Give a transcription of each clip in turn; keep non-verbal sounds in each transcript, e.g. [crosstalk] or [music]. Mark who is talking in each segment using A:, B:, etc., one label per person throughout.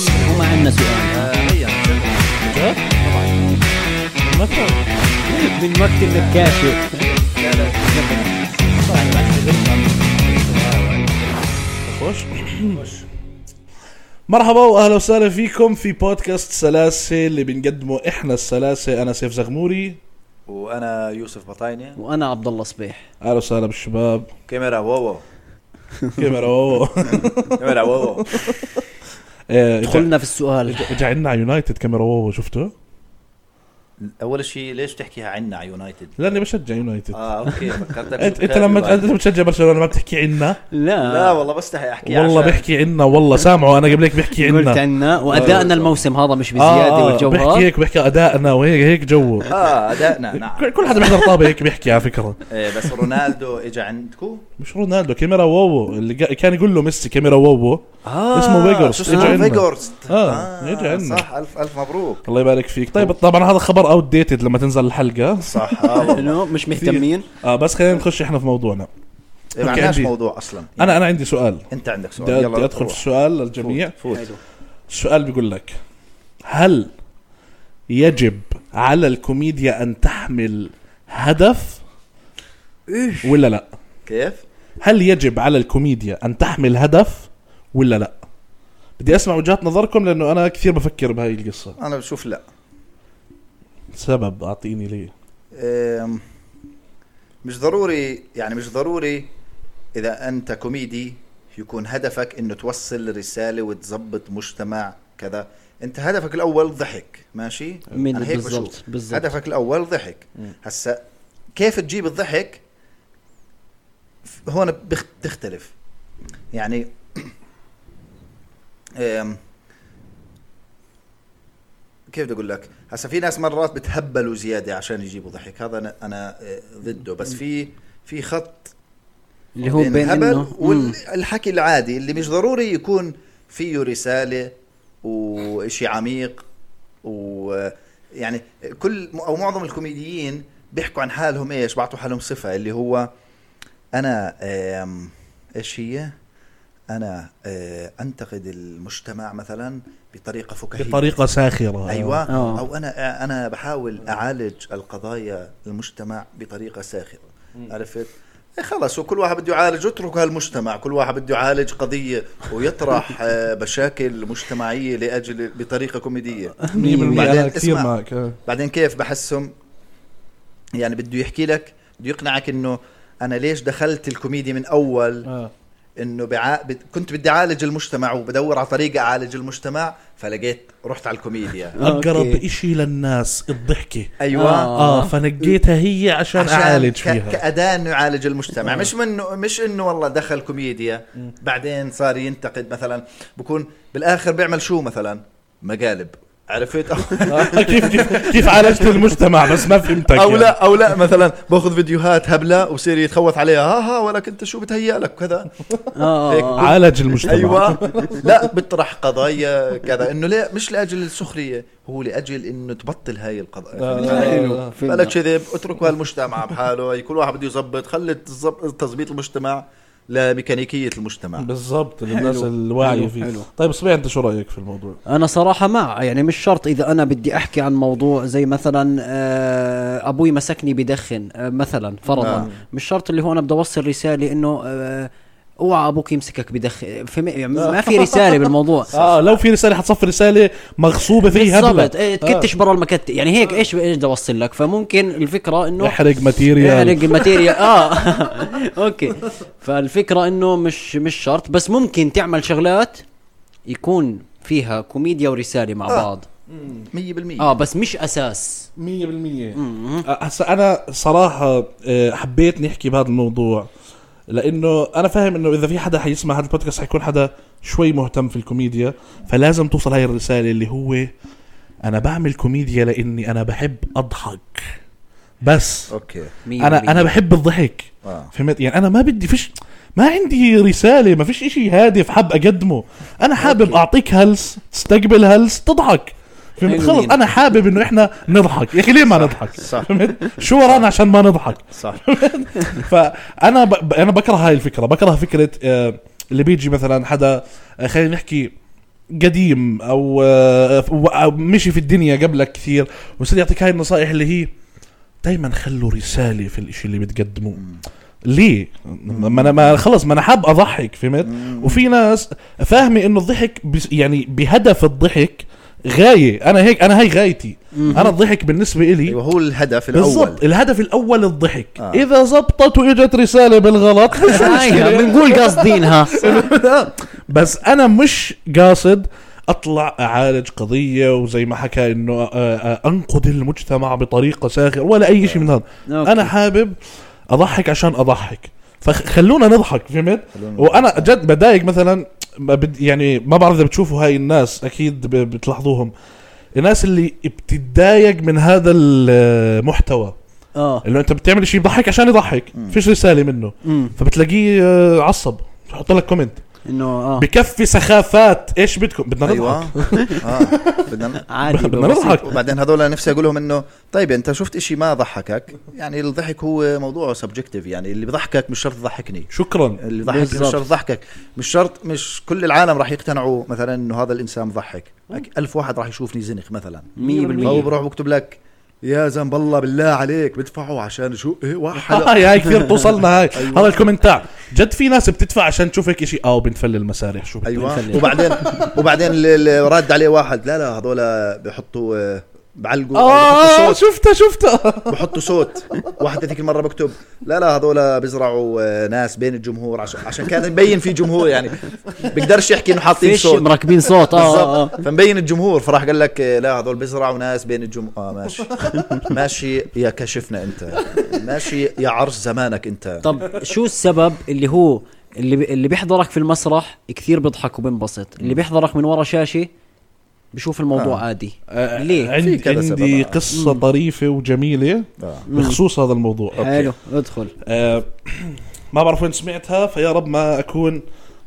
A: وما عندنا سؤال
B: آه، هيا
A: جد؟
B: المكتب
A: من مكتب الكاشف
B: لا لا خش
C: مرحبا واهلا وسهلا فيكم في بودكاست سلاسه اللي بنقدمه احنا السلاسه انا سيف زغموري
B: وانا يوسف بطاينه
A: وانا عبد الله صبيح
C: اهلا وسهلا بالشباب
B: كاميرا واو
C: كاميرا اوه
B: كاميرا واو
A: دخلنا في السؤال
C: اجى عندنا إيه، على يونايتد كاميرا اوه شفته؟
B: اول شيء ليش بتحكيها عنا على يونايتد
C: لاني بشجع يونايتد
B: اه اوكي
C: انت
B: فكرتك
C: انت
B: بتخاف
C: لما
B: يبقى.
C: انت بتشجع برشلونه ما بتحكي عنا
B: لا
A: لا
B: والله بستحي احكي
C: والله
B: عشان-
C: بحكي عنا والله سامعه انا قبل هيك بحكي
A: قلت يعني
C: عنا آه،
A: عنا وادائنا الموسم هذا مش بزياده
C: بحكي
A: والجوهر
C: هيك بحكي ادائنا وهيك هيك جو
B: اه ادائنا نعم
C: كل حدا بيحضر طابه هيك بيحكي على فكره
B: إيه، بس رونالدو اجى عندكم
C: مش رونالدو كاميرا واو اللي قا- كان يقول له ميسي كاميرا واو
B: اه
C: آه، اسمه إيه، فيجورست،
B: شو اسمه
C: إجا عنا.
B: فيجورست.
C: آه،
B: آه،
C: إجا عنا.
B: صح الف الف مبروك
C: الله يبارك فيك طيب طبعا هذا خبر اوت ديتد لما تنزل الحلقه
B: صح اه والله
A: إنه مش مهتمين
C: اه بس خلينا نخش احنا في موضوعنا
B: إيه،
C: [laughs] أوكي،
B: ما عندناش
C: عندي.
B: موضوع اصلا
C: انا انا عندي سؤال
B: انت عندك سؤال
C: بدي بدي ادخل
B: طيب، روح.
C: في السؤال للجميع
B: فوت
C: السؤال بيقول لك هل يجب على الكوميديا ان تحمل هدف ولا لا
B: كيف؟
C: هل يجب على الكوميديا ان تحمل هدف ولا لا بدي اسمع وجهات نظركم لانه انا كثير بفكر بهاي القصه
B: انا بشوف لا
C: سبب اعطيني ليه
B: أم، مش ضروري يعني مش ضروري اذا انت كوميدي يكون هدفك انه توصل رساله وتظبط مجتمع كذا انت هدفك الاول ضحك ماشي
A: من
B: أنا هيك
A: بالضبط
B: بشوف.
A: بالضبط
B: هدفك الاول ضحك هسا كيف تجيب الضحك ف- هون بخ- بتختلف يعني [clears throat] أم، كيف بدي اقول لك هسا في ناس مرات بتهبلوا زياده عشان يجيبوا ضحك هذا انا انا أه، ضده بس في في خط
A: اللي هو بين
B: الهبل
A: انه مم.
B: والحكي العادي اللي مش ضروري يكون فيه رساله وشيء عميق ويعني كل او معظم الكوميديين بيحكوا عن حالهم ايش بعطوا حالهم صفه اللي هو انا آم، ايش هي انا آه، انتقد المجتمع مثلا بطريقه
A: أيوة.
B: فكاهيه
C: بطريقه ساخره
B: ايوه
A: آه.
B: او انا انا بحاول اعالج القضايا المجتمع بطريقه ساخره عرفت إيه خلص وكل واحد بده يعالج اترك هالمجتمع كل واحد بده يعالج قضيه ويطرح آه، مشاكل مجتمعيه لاجل بطريقه كوميديه
C: 100% انا
B: بعدين
C: كثير
B: اسمع.
C: معك آه.
B: بعدين كيف بحسهم يعني بده يحكي لك بده يقنعك انه انا ليش دخلت الكوميديا من اول
C: آه.
B: انه بعا... بد- كنت بدي اعالج المجتمع وبدور على طريقه اعالج المجتمع فلقيت رحت على الكوميديا
C: اقرب
A: أوكي.
C: إشي للناس الضحكه
B: ايوه
A: آه.
C: اه فنقيتها هي عشان, اعالج
B: ك-
C: فيها
B: كأداة انه يعالج المجتمع مش منه مش انه والله دخل كوميديا بعدين صار ينتقد مثلا بكون بالاخر بيعمل شو مثلا مقالب عرفت او,
C: كيف [laughs] كيف كيف عالجت المجتمع بس ما فهمتك
B: أو
C: يعني.
B: لا او لا مثلا باخذ فيديوهات هبله وبصير يتخوت عليها "آه، ها ها ولك انت شو بتهيأ لك كذا
A: آه،
B: هيك.
A: آه، آه.
C: يعني. عالج المجتمع
B: ايوه [laughs] لا بيطرح قضايا كذا انه لا مش لاجل السخريه هو لاجل انه تبطل هاي القضايا
A: حلو، فهمنا.
B: بلا كذب اتركوا هالمجتمع بحاله هي كل واحد بده يظبط خلي التظب- تظبيط المجتمع لميكانيكيه المجتمع
C: بالضبط للناس
A: حلو،
C: الواعيه
A: حلو،
C: فيه
A: حلو.
C: طيب صبيح انت شو رايك في الموضوع
A: انا صراحه مع يعني مش شرط اذا انا بدي احكي عن موضوع زي مثلا آه، ابوي مسكني بدخن آه، مثلا فرضا
B: آه.
A: مش شرط اللي هو انا بدي اوصل رساله انه آه، اوعى ابوك يمسكك بدخن فهم- يعني ما في رساله بالموضوع
C: اه لو في رساله حتصفي رساله مغصوبه فيها
A: بالضبط
C: هبله
A: إيه، تكتش برا المكت يعني هيك ايش ايش بدي اوصل لك فممكن إيه، الفكره انه
C: احرق ماتيريال
A: احرق الماتيريال [laughs] اه اوكي فالفكره انه مش مش شرط بس ممكن تعمل شغلات يكون فيها كوميديا ورساله مع
B: آه.
A: بعض
B: 100%
A: اه بس مش اساس
C: 100% هسا انا صراحه آه، حبيت نحكي بهذا الموضوع لانه انا فاهم انه اذا في حدا حيسمع هذا البودكاست حيكون حدا شوي مهتم في الكوميديا فلازم توصل هاي الرساله اللي هو انا بعمل كوميديا لاني انا بحب اضحك بس
B: اوكي
A: مية
C: انا انا
A: بالمية.
C: بحب الضحك
B: آه.
C: فهمت يعني انا ما بدي فيش ما عندي رساله ما فيش إشي هادف حاب اقدمه انا حابب
A: أوكي.
C: اعطيك هلس تستقبل هلس تضحك فهمت
A: حلوين.
C: خلص انا حابب انه احنا نضحك يا اخي ليه ما نضحك
B: صح.
C: فهمت شو ورانا عشان ما نضحك
B: صح
C: فانا ب... ب- انا بكره هاي الفكره بكره فكره آه، اللي بيجي مثلا حدا آه، خلينا نحكي قديم او آه، أو مشي في الدنيا قبلك كثير ويصير يعطيك هاي النصائح اللي هي دائما خلوا رساله في الاشي اللي بتقدموه ليه؟ ما انا ما خلص ما انا حاب اضحك فهمت؟ وفي ناس فاهمه انه الضحك بس- يعني بهدف الضحك غايه انا هيك انا هاي غايتي انا الضحك بالنسبه الي
B: ايوه هو الهدف الاول
C: بالضبط الهدف الاول الضحك
B: آه.
C: آه. اذا زبطت واجت رساله بالغلط مش
A: هاي
C: مشكله
A: بنقول قاصدينها
C: [laughs] بس انا مش قاصد اطلع اعالج قضيه وزي ما حكى انه آه، آه، انقد المجتمع بطريقه ساخره ولا اي شيء من هذا
A: أوكي.
C: انا حابب اضحك عشان اضحك فخلونا نضحك فهمت
B: خلونا نضحك.
C: وانا جد بضايق مثلا ما بد- يعني ما بعرف اذا بتشوفوا هاي الناس اكيد ب- بتلاحظوهم الناس اللي بتتضايق من هذا المحتوى
A: اه
C: اللي انت بتعمل شيء يضحك عشان يضحك فيش رساله منه
A: مم.
C: فبتلاقيه آه، عصب يحط لك كومنت
A: انه اه
C: بكفي سخافات ايش بدكم بدنا نضحك
B: ايوه اه بدنا
A: أيوة. عادي
C: [laughs] بدنا نضحك
B: وبعدين هذول نفسي اقول لهم انه طيب انت شفت إشي ما ضحكك يعني الضحك هو موضوع سبجكتيف يعني اللي بضحكك مش شرط يضحكني
C: شكرا
B: اللي ضحك مش
A: بالظبط.
B: شرط ضحكك مش شرط مش كل العالم راح يقتنعوا مثلا انه هذا الانسان ضحك أك- ألف واحد راح يشوفني زنخ مثلا
A: مية بالمية.
B: فهو بروح بكتب لك يا ذنب الله بالله عليك بدفعوا عشان شو إيه
A: [laughs]
C: [laughs]
B: واحد
C: هاي هاي كثير توصلنا هاي هذا الكومنتار جد في ناس بتدفع عشان تشوف هيك شيء او بنفل المسارح شو بدك؟
B: ايوه
A: بنخليه.
B: وبعدين وبعدين اللي- اللي رد عليه واحد لا لا هذول بحطوا آه، بعلقوا أو
A: آه.
B: بحطوا
C: اه
B: صوت
C: شفتها شفتها
B: بحطوا صوت واحد هذيك المره بكتب لا لا هذول بيزرعوا آه، ناس بين الجمهور عشان عشان كان مبين في جمهور يعني بقدرش يحكي انه حاطين
A: فيش
B: صوت
A: مركبين صوت
C: آه،
A: اه اه
B: بالضبط فمبين الجمهور فراح قال لك آه، لا هذول بيزرعوا ناس بين الجمهور اه
C: [laughs]
B: ماشي ماشي يا كشفنا انت ماشي يا عرس زمانك
C: طيب.
B: انت
A: طب شو السبب اللي هو اللي ب- اللي بيحضرك في المسرح كثير بيضحك وبينبسط اللي بيحضرك من ورا شاشه بيشوف الموضوع
B: آه.
A: عادي
C: آه،
A: ليه؟
B: في
C: عندي
B: كذا سبب،
C: عندي
B: آه.
C: قصه طريفه وجميله
B: آه.
C: بخصوص هذا الموضوع
A: حلو ادخل
C: آه، ما بعرف وين سمعتها فيا رب ما اكون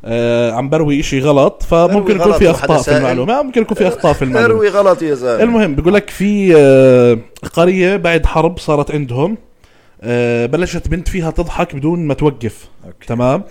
C: آه، عم بروي إشي غلط فممكن
B: بروي
C: يكون
B: غلط
C: في
B: وحدا
C: اخطاء في
B: سائل.
C: المعلومه ممكن يكون في اخطاء في
B: [laughs]
C: المعلومه
B: اروي غلط يا زلمه
C: المهم بيقول لك في آه، قريه بعد حرب صارت عندهم آه، بلشت بنت فيها تضحك بدون ما توقف
B: أوكي.
C: تمام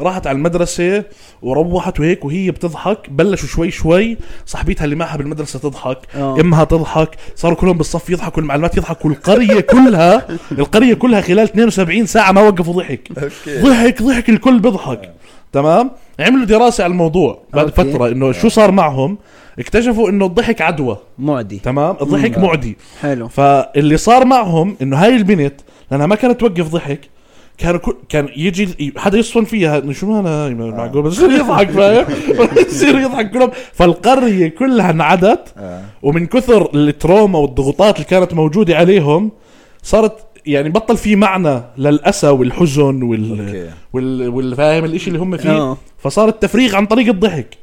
C: راحت على المدرسة وروحت وهيك وهي بتضحك بلشوا شوي شوي صاحبتها اللي معها بالمدرسة تضحك
A: آه.
C: امها تضحك صاروا كلهم بالصف يضحكوا المعلمات يضحكوا القرية كلها القرية كلها خلال 72 ساعة ما وقفوا ضحك
B: اوكي
C: ضحك ضحك الكل بيضحك تمام عملوا دراسة على الموضوع بعد
A: أوكي.
C: فترة انه شو صار معهم اكتشفوا انه الضحك عدوى
A: معدي
C: تمام الضحك
B: مم.
C: معدي
A: حلو
C: فاللي صار معهم انه هاي البنت لانها ما كانت توقف ضحك كان كل كان يجي ال- حدا يصفن فيها إنه شو انا معقول بس يصير يضحك [laughs] فاهم يصير يضحك كلهم فالقريه كلها انعدت
B: آه.
C: ومن كثر التروما والضغوطات اللي كانت موجوده عليهم صارت يعني بطل في معنى للاسى والحزن وال
B: اوكي
C: وال والفاهم الاشي اللي هم فيه
A: آه.
C: فصار التفريغ عن طريق الضحك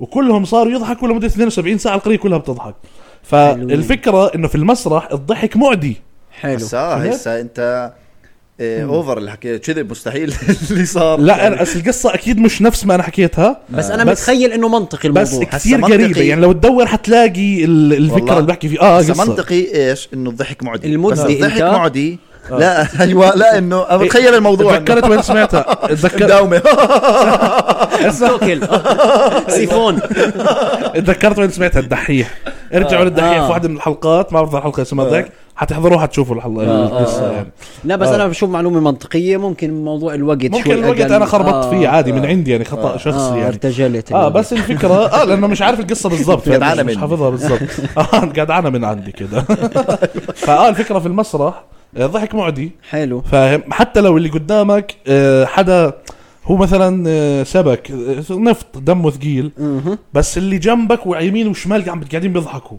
C: وكلهم صاروا يضحكوا لمده 72 ساعه القريه كلها بتضحك فالفكره انه في المسرح الضحك معدي
A: حلو
B: هسا
C: فهمت؟
B: هسا انت آه، اوفر اللي حكيت كذب مستحيل [laughs] اللي صار يعني
C: لا أنا بس القصه اكيد مش نفس ما انا حكيتها
A: بس انا
C: بس-
A: متخيل انه منطقي
C: بس [laughs]
A: الموضوع
C: كثير
B: منطقي-
C: قريبه يعني لو تدور حتلاقي ال-
B: والله.
C: الفكره اللي بحكي فيه اه
B: هسا
C: قصه
B: منطقي ايش انه الضحك معدي
A: المدي
B: بس الضحك
A: انت.
B: معدي
C: آه.
B: لا ايوه لا انه أنا بتخيل الموضوع
C: تذكرت وين
B: [laughs]
C: سمعتها تذكرت
B: مداومه
C: آه. [laughs]
A: توكل سيفون
C: تذكرت وين سمعتها الدحيح ارجعوا للدحيح
A: آه.
C: في واحده من الحلقات ما بعرف الحلقه اسمها ذاك حتحضروها حتشوفوا الحلقه
A: آه،
C: القصه يعني
A: لا بس
C: آه.
A: انا بشوف معلومه منطقيه ممكن موضوع الوقت
C: ممكن
A: شوي
C: الوقت
A: أقل.
C: انا خربطت
A: آه.
C: فيه عادي من عندي يعني خطا
A: اه
C: شخصي يعني
A: ارتجلت
C: اه بس الفكره اه لانه مش عارف القصه
A: [laughs]
C: بالضبط
B: قاعد
C: يعني
B: عانى
C: مش- مش
B: مني.
C: حافظها بالضبط [laughs] اه قاعد عانى من عندي كده [laughs] فاه الفكره في المسرح آه، ضحك معدي
A: حلو
C: فاهم حتى لو اللي قدامك آه، حدا هو مثلا آه، سبك آه، نفط دمه ثقيل
A: مهم.
C: بس اللي جنبك ويمين وشمال قاعد قاعدين بيضحكوا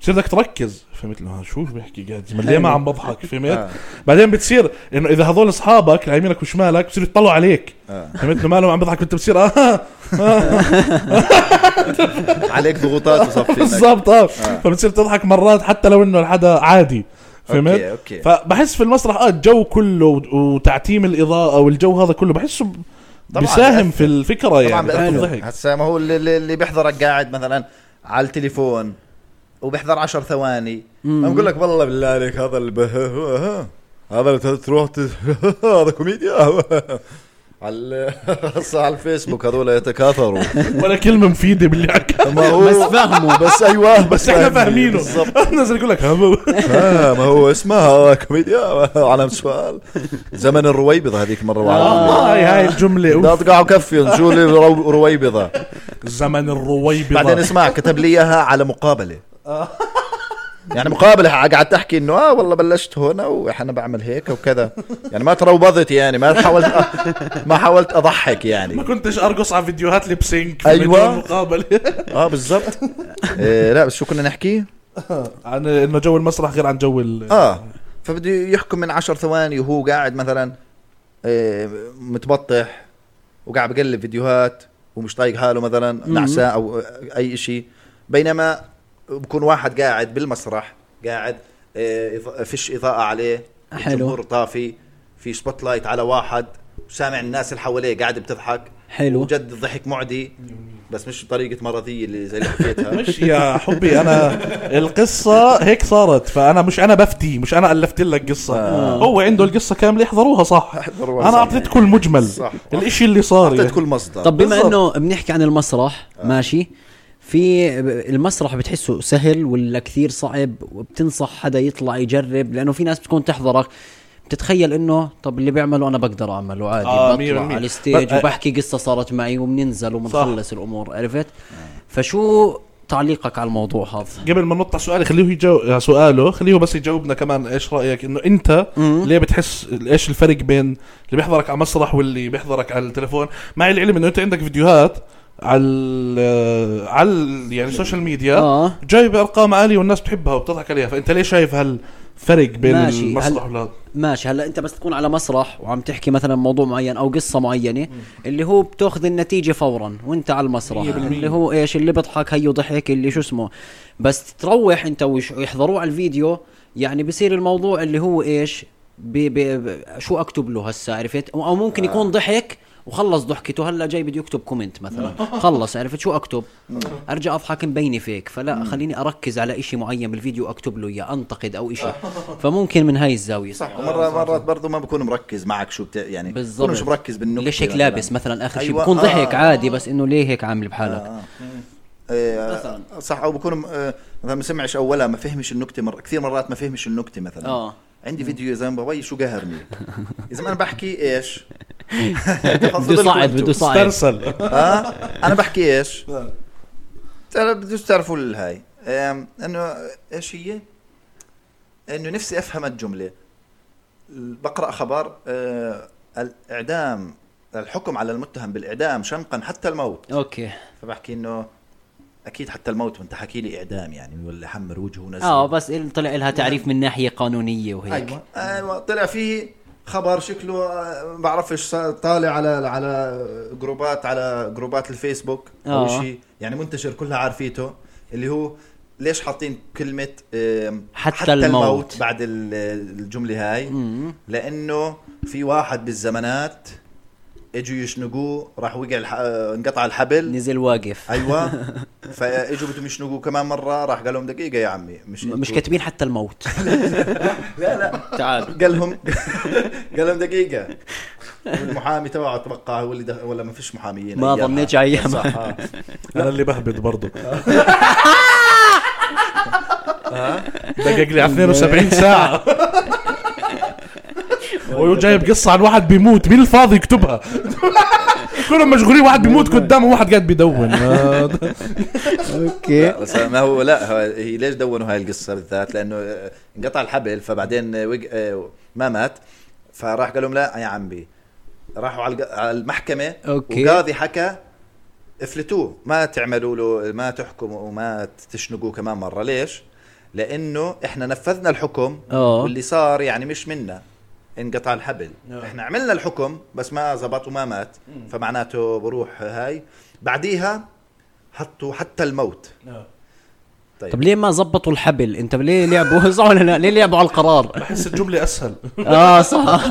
C: بتصير بدك تركز فهمت له ها، شو بيحكي قاعد زلمة، ليه ما عم
B: [laughs]
C: بضحك
B: آه.
C: فهمت بعدين بتصير انه اذا هذول اصحابك اللي يمينك وشمالك بصيروا يطلعوا عليك
B: آه.
C: فهمت له مالهم عم بضحك انت بتصير اه
B: [laughs] عليك ضغوطات
C: [laughs]
B: وصفي
C: بالضبط اه فبتصير تضحك مرات حتى لو انه الحدا عادي فهمت
B: اوكي اوكي
C: فبحس في المسرح اه الجو كله و- وتعتيم الاضاءه والجو هذا كله بحسه ب-
B: طبعاً
C: بيساهم
B: بيأثر.
C: في الفكره
B: طبعا
C: يعني بيأثر
B: بأثر. [laughs]
C: الضحك
B: هسا ما هو اللي, اللي بيحضرك قاعد مثلا على التليفون وبيحضر عشر ثواني
A: مم.
B: عم بقول لك والله بالله عليك [laughs] هذا اللي به- هذا اللي تروح ت- هذا كوميديا [laughs] على ال- هسه على الفيسبوك
A: [laughs]
B: هذول يتكاثروا
C: ولا كلمه مفيده باللي حكى
B: ما هو
A: بس فهموا.
B: بس ايوه
C: بس احنا فاهمينه
B: بالضبط
C: [laughs] نزل يقول لك هبو.
B: آه، ما هو اسمها كوميديا [laughs] علامة سؤال زمن الرويبضة هذيك مرة
A: آه.
B: وعلامة.
C: هاي هاي
B: [laughs]
C: الجمله
B: لا
C: أوف.
B: تقعوا كفي شو لي رو- رويبضة
C: زمن الرويبضه
B: بعدين اسمع كتب لي اياها على مقابلة يعني مقابلة قعدت احكي انه اه والله بلشت هنا وانا بعمل هيك وكذا يعني ما تروبضت يعني ما حاولت ما حاولت اضحك
C: ما
B: يعني
C: كنتش ارقص على فيديوهات لبسينك
B: أيوة.
C: مقابله
B: اه بالضبط إيه لا بس شو كنا نحكي؟
C: [laughs] عن انه جو المسرح غير عن جو ال
B: اه فبده يحكم من عشر ثواني وهو قاعد مثلا آه، متبطح وقاعد بقلب فيديوهات ومش طايق حاله مثلا نعسة او آه، اي شيء بينما بكون واحد قاعد بالمسرح قاعد آه، إضاءة- فيش اضاءه عليه
A: حلو.
B: الجمهور طافي في سبوت لايت على واحد سامع الناس اللي حواليه قاعد بتضحك
A: حلو
B: وجد الضحك معدي بس مش بطريقه مرضيه اللي زي اللي حكيتها
C: مش يا حبي انا القصه هيك صارت فانا مش انا بفتي مش انا الفت لك قصه هو عنده القصه كامله احضروها آه. صح
B: احضروها
C: انا
B: صح.
C: اعطيتكم المجمل
B: صح.
C: الاشي اللي صار
B: اعطيت
C: يعني.
B: كل مصدر
A: طب بما
C: بالضبط. آه.
A: انه بنحكي عن المسرح ماشي في المسرح بتحسه سهل ولا كثير صعب وبتنصح حدا يطلع يجرب لانه في ناس بتكون تحضرك بتتخيل انه طب اللي بيعمله انا بقدر اعمله عادي
C: آه،
A: آه
C: مية
A: بطلع
C: بالمية.
A: على الستيج
C: بس-
A: وبحكي قصه صارت معي وبننزل وبنخلص الامور عرفت
C: آه.
A: فشو تعليقك على الموضوع هذا
C: قبل ما ننط على سؤالي خليه يجاوب سؤاله خليه بس يجاوبنا كمان ايش رايك انه انت ليه بتحس ايش الفرق بين اللي بيحضرك على مسرح واللي بيحضرك على التليفون مع العلم انه انت عندك فيديوهات على ال- على ال- يعني السوشيال ميديا
A: اه
C: جايب ارقام عاليه والناس بتحبها وبتضحك عليها فانت ليه شايف هالفرق بين
A: ماشي،
C: المسرح
A: هل-
C: ولا
A: ماشي هلا انت بس تكون على مسرح وعم تحكي مثلا موضوع معين او قصه معينه اللي هو بتاخذ النتيجه فورا وانت على المسرح
C: مية بالمية.
A: اللي هو ايش اللي بضحك هيو ضحك اللي شو اسمه بس تروح انت ويش- ويحضروه على الفيديو يعني بصير الموضوع اللي هو ايش بي بي ب- شو اكتب له هسا عرفت او أو ممكن يكون
C: آه.
A: ضحك وخلص ضحكته هلا جاي بده يكتب كومنت مثلا خلص عرفت شو اكتب ارجع اضحك مبينه فيك فلا خليني اركز على إشي معين بالفيديو اكتب له اياه انتقد او إشي فممكن من هاي الزاويه
B: يعني آه، صح ومرة مرات برضو ما بكون مركز معك شو بت... يعني
A: بالضبط.
B: بكون مش مركز بالنكته
A: ليش هيك
B: مثلاً.
A: لابس مثلا اخر شيء
B: أيوة.
A: بكون
B: آه.
A: ضحك عادي بس انه ليه هيك عامل بحالك
B: إيه،
A: مثلاً.
B: صح او بكون آه، مثلا ما سمعش اولها ما فهمش النكته مر... كثير مرات ما فهمش النكته مثلا
A: آه.
B: عندي فيديو يا زلمه بابي شو
A: [laughs]
B: قهرني يا زلمه انا بحكي ايش
A: بده يصعد بده يصعد [laughs]
C: استرسل
B: اه انا بحكي ايش ترى بدوش تعرفوا الهاي أم، انه ايش هي؟ انه نفسي افهم الجمله بقرا خبر آه، الاعدام الحكم على المتهم بالاعدام شنقا حتى الموت
A: اوكي
B: فبحكي انه اكيد حتى الموت وانت حكي لي اعدام يعني ولا حمر وجهه ونزل
A: اه بس إل- طلع لها تعريف من ناحيه قانونيه وهيك
B: ايوه ايوه طلع فيه خبر شكله آه، بعرفش صار- طالع على على جروبات على جروبات الفيسبوك او
A: آه.
B: شيء يعني منتشر كلها عارفيته اللي هو ليش حاطين كلمة آم،
A: حتى الموت.
B: بعد ال- الجملة هاي لأنه في واحد بالزمانات اجوا يشنقوه راح وقع الح... آه، انقطع الحبل
A: نزل واقف
B: ايوه
A: [laughs]
B: فاجوا بدهم يشنقوه كمان مرة راح قال لهم دقيقة يا عمي مش
A: م- مش
B: إنتوا-
A: كاتبين حتى الموت
B: لا لا
A: [laughs] تعال
B: قال لهم [laughs] قال لهم دقيقة المحامي تبعه اتوقع هو اللي دخل ولا ما فيش محاميين
A: ما
B: أيامها.
A: ظنيتش أيامها.
B: صح آه.
C: انا اللي بهبد
A: [laughs]
C: برضه دقق لي على 72
A: [laughs]
C: ساعة وجايب قصة عن واحد بيموت مين الفاضي يكتبها [laughs] كلهم مشغولين واحد بيموت قدامه واحد قاعد
A: [laughs]
C: بيدون آه،
A: اوكي
B: بس ما هو لا هو- هي ليش دونوا هاي القصة بالذات لأنه آه، انقطع الحبل فبعدين آه، وق- آه، ما مات فراح قال لهم لا يا عمي راحوا على الق- على المحكمة
A: أوكي.
B: وقاضي حكى افلتوه ما تعملوا له ما تحكموا وما تشنقوه كمان مرة ليش؟ لأنه احنا نفذنا الحكم
A: آه.
B: واللي صار يعني مش منا انقطع الحبل احنا عملنا الحكم بس ما زبط وما مات فمعناته بروح هاي بعديها حطوا حتى الموت طيب،
A: طب ليه ما زبطوا الحبل انت ليه لعبوا [laughs] صح ولا لا ليه لعبوا على
C: [laughs]
A: القرار
C: بحس الجملة اسهل
A: اه صح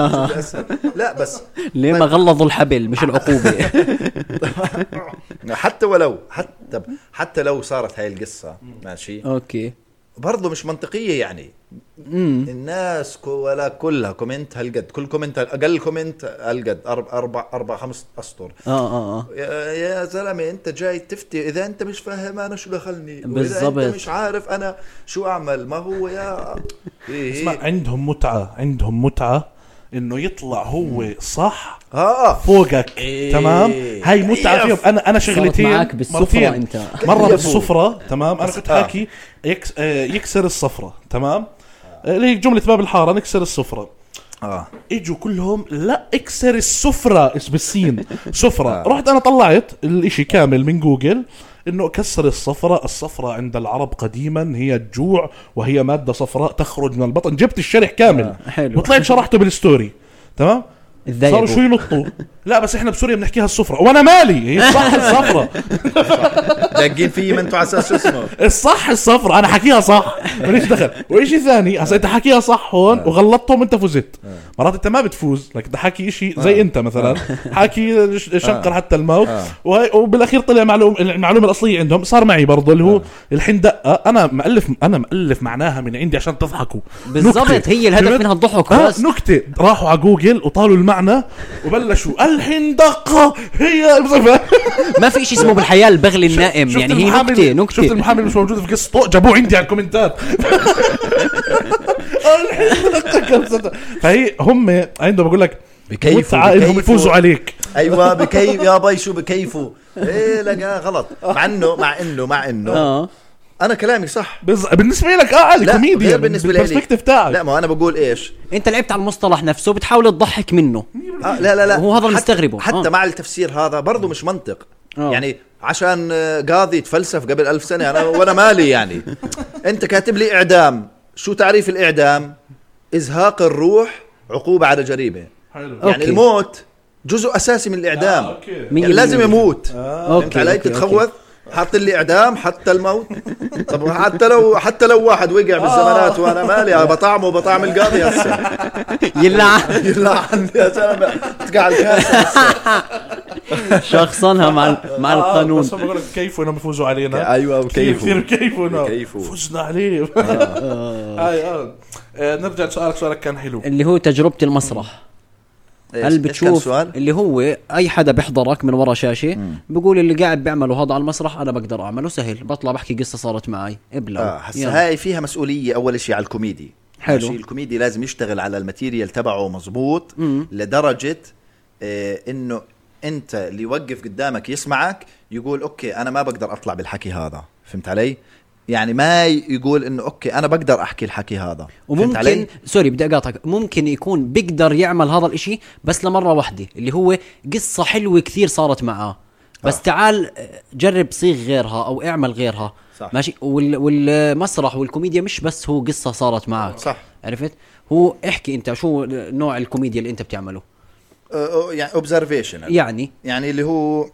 B: لا بس
A: ليه ما غلظوا الحبل مش العقوبه آه.
B: حتى ولو حتى حتى لو صارت هاي القصه ماشي
A: اوكي
B: برضه مش منطقيه يعني
A: امم
B: الناس كو- ولا كلها كومنت هالقد كل كومنت اقل كومنت هالقد أربع أربع أربع خمس اسطر
A: اه اه اه
B: يا, يا زلمه انت جاي تفتي اذا انت مش فاهم انا شو دخلني وإذا
A: بالضبط.
B: انت مش عارف انا شو اعمل ما هو
A: [laughs]
B: يا إيه
C: اسمع
B: إيه.
C: عندهم متعه عندهم متعه انه يطلع هو صح
B: اه
C: فوقك
B: إيه.
C: تمام هاي متعه
B: إيه.
C: فيهم انا انا
A: صارت
C: شغلتين
A: معك بالسفرة
C: مرتين.
A: انت
C: مره
B: كيفه.
C: بالسفره تمام انا
B: بس-
C: كنت
B: آه.
C: حاكي يكس آه، يكسر الصفره تمام آه، اللي هي جمله باب الحاره نكسر السفره
B: اه
C: اجوا كلهم لا اكسر السفره اس- بالسين سفره
B: آه.
C: رحت انا طلعت الاشي كامل من جوجل انه كسر الصفرة الصفرة عند العرب قديما هي الجوع وهي مادة صفراء تخرج من البطن جبت الشرح كامل
A: آه، حلو.
C: وطلعت شرحته بالستوري تمام صاروا شو
A: تضايقوا
C: ينطوا لا بس احنا بسوريا بنحكيها الصفرة وانا مالي هي [laughs] صح الصفرة
B: داقين فيي ما انتوا على اساس شو اسمه
C: الصح الصفرة انا حكيها صح ماليش دخل وإشي ثاني هسا انت حكيها صح هون وغلطتهم انت فزت مرات انت ما بتفوز لك انت حكي إشي زي انت مثلا حكي ش- شنقر حتى الموت وهي وبالاخير طلع معلوم المعلومه الاصليه عندهم صار معي برضه اللي هو الحين دقه انا مالف انا مالف معناها من عندي عشان تضحكوا
A: بالضبط
C: نكتة.
A: هي الهدف
C: فهمت؟
A: منها الضحك
C: آه
A: بس
C: نكتة راحوا على جوجل وطالوا المعنى وبلشوا الحندقة هي
A: ما في شيء اسمه بالحياه البغل النائم
C: شفت
A: يعني هي
C: المحامي-
A: نكته
C: شفت
A: نكته
C: المحامي مش موجود في قصته جابوه عندي على الكومنتات
B: [laughs]
C: فهي هم عندهم بقول لك
B: بكيفوا-
C: متعة انهم
B: بكيفوا.
C: يفوزوا عليك
B: ايوه بكيف يا باي شو بكيفوا ايه لقى غلط مع انه مع انه مع انه
A: اه
B: انا كلامي صح
C: بز... بالنسبه لك اه عادي
B: لا
C: كوميديا
B: غير بالنسبه لي
C: البرسبكتيف
A: آه.
C: تاعك
B: لا ما هو انا بقول ايش
A: انت لعبت على المصطلح نفسه بتحاول تضحك منه
B: آه لا لا لا
A: هو هذا اللي
B: حت-
A: مستغربه.
B: حتى
A: آه.
B: مع التفسير هذا برضه مش منطق
A: آه.
B: يعني عشان آه، قاضي تفلسف قبل ألف سنة أنا وأنا مالي يعني أنت كاتب لي إعدام شو تعريف الإعدام إزهاق الروح عقوبة على جريمة
C: حلو
B: يعني
A: أوكي.
B: الموت جزء أساسي من الإعدام
C: آه،
A: مية
B: يعني لازم
A: بالمية.
B: يموت انت
A: اوكي
B: علي
A: أوكي، [laughs]
B: تتخوث حط لي اعدام حتى الموت طب حتى لو حتى لو واحد وقع بالزمانات
A: آه.
B: وانا مالي أنا بطعمه بطعم القاضي هسه
A: أوكي. يلا
B: يلعن يا زلمه تقع الكاسه
A: شخصنها مع ال-
B: آه،
A: مع القانون
C: آه، بس هم بقول لك كيفوا انهم يفوزوا
B: [laughs]
C: علينا
B: ايوه
C: كثير
B: وكيف
C: كثير كيفوا انهم
B: كيفوا. آه.
C: فزنا عليه [laughs] هاي اه آه، نرجع لسؤالك سؤالك كان حلو
A: اللي هو تجربه المسرح هل بتشوف اللي هو اي حدا بيحضرك من ورا شاشه بقول اللي قاعد بيعمله هذا على المسرح انا بقدر اعمله سهل بطلع بحكي قصه صارت معي ابلع
B: اه هسه هاي فيها مسؤوليه اول شيء على الكوميدي
A: حلو.
B: ماشي، الكوميدي لازم يشتغل على الماتيريال تبعه مزبوط
A: مم.
B: لدرجه آه انه انت اللي يوقف قدامك يسمعك يقول اوكي انا ما بقدر اطلع بالحكي هذا فهمت علي يعني ما ي- يقول انه اوكي انا بقدر احكي الحكي هذا فهمت
A: وممكن
B: علي
A: سوري بدي اقاطعك ممكن يكون بيقدر يعمل هذا الاشي بس لمره واحده اللي هو قصه حلوه كثير صارت معاه بس آه. تعال جرب صيغ غيرها او اعمل غيرها
B: صح.
A: ماشي وال والمسرح والكوميديا مش بس هو قصه صارت معك
B: صح.
A: عرفت هو احكي انت شو نوع الكوميديا اللي انت بتعمله
B: آه، آه، يعني اوبزرفيشن
A: يعني
B: يعني اللي هو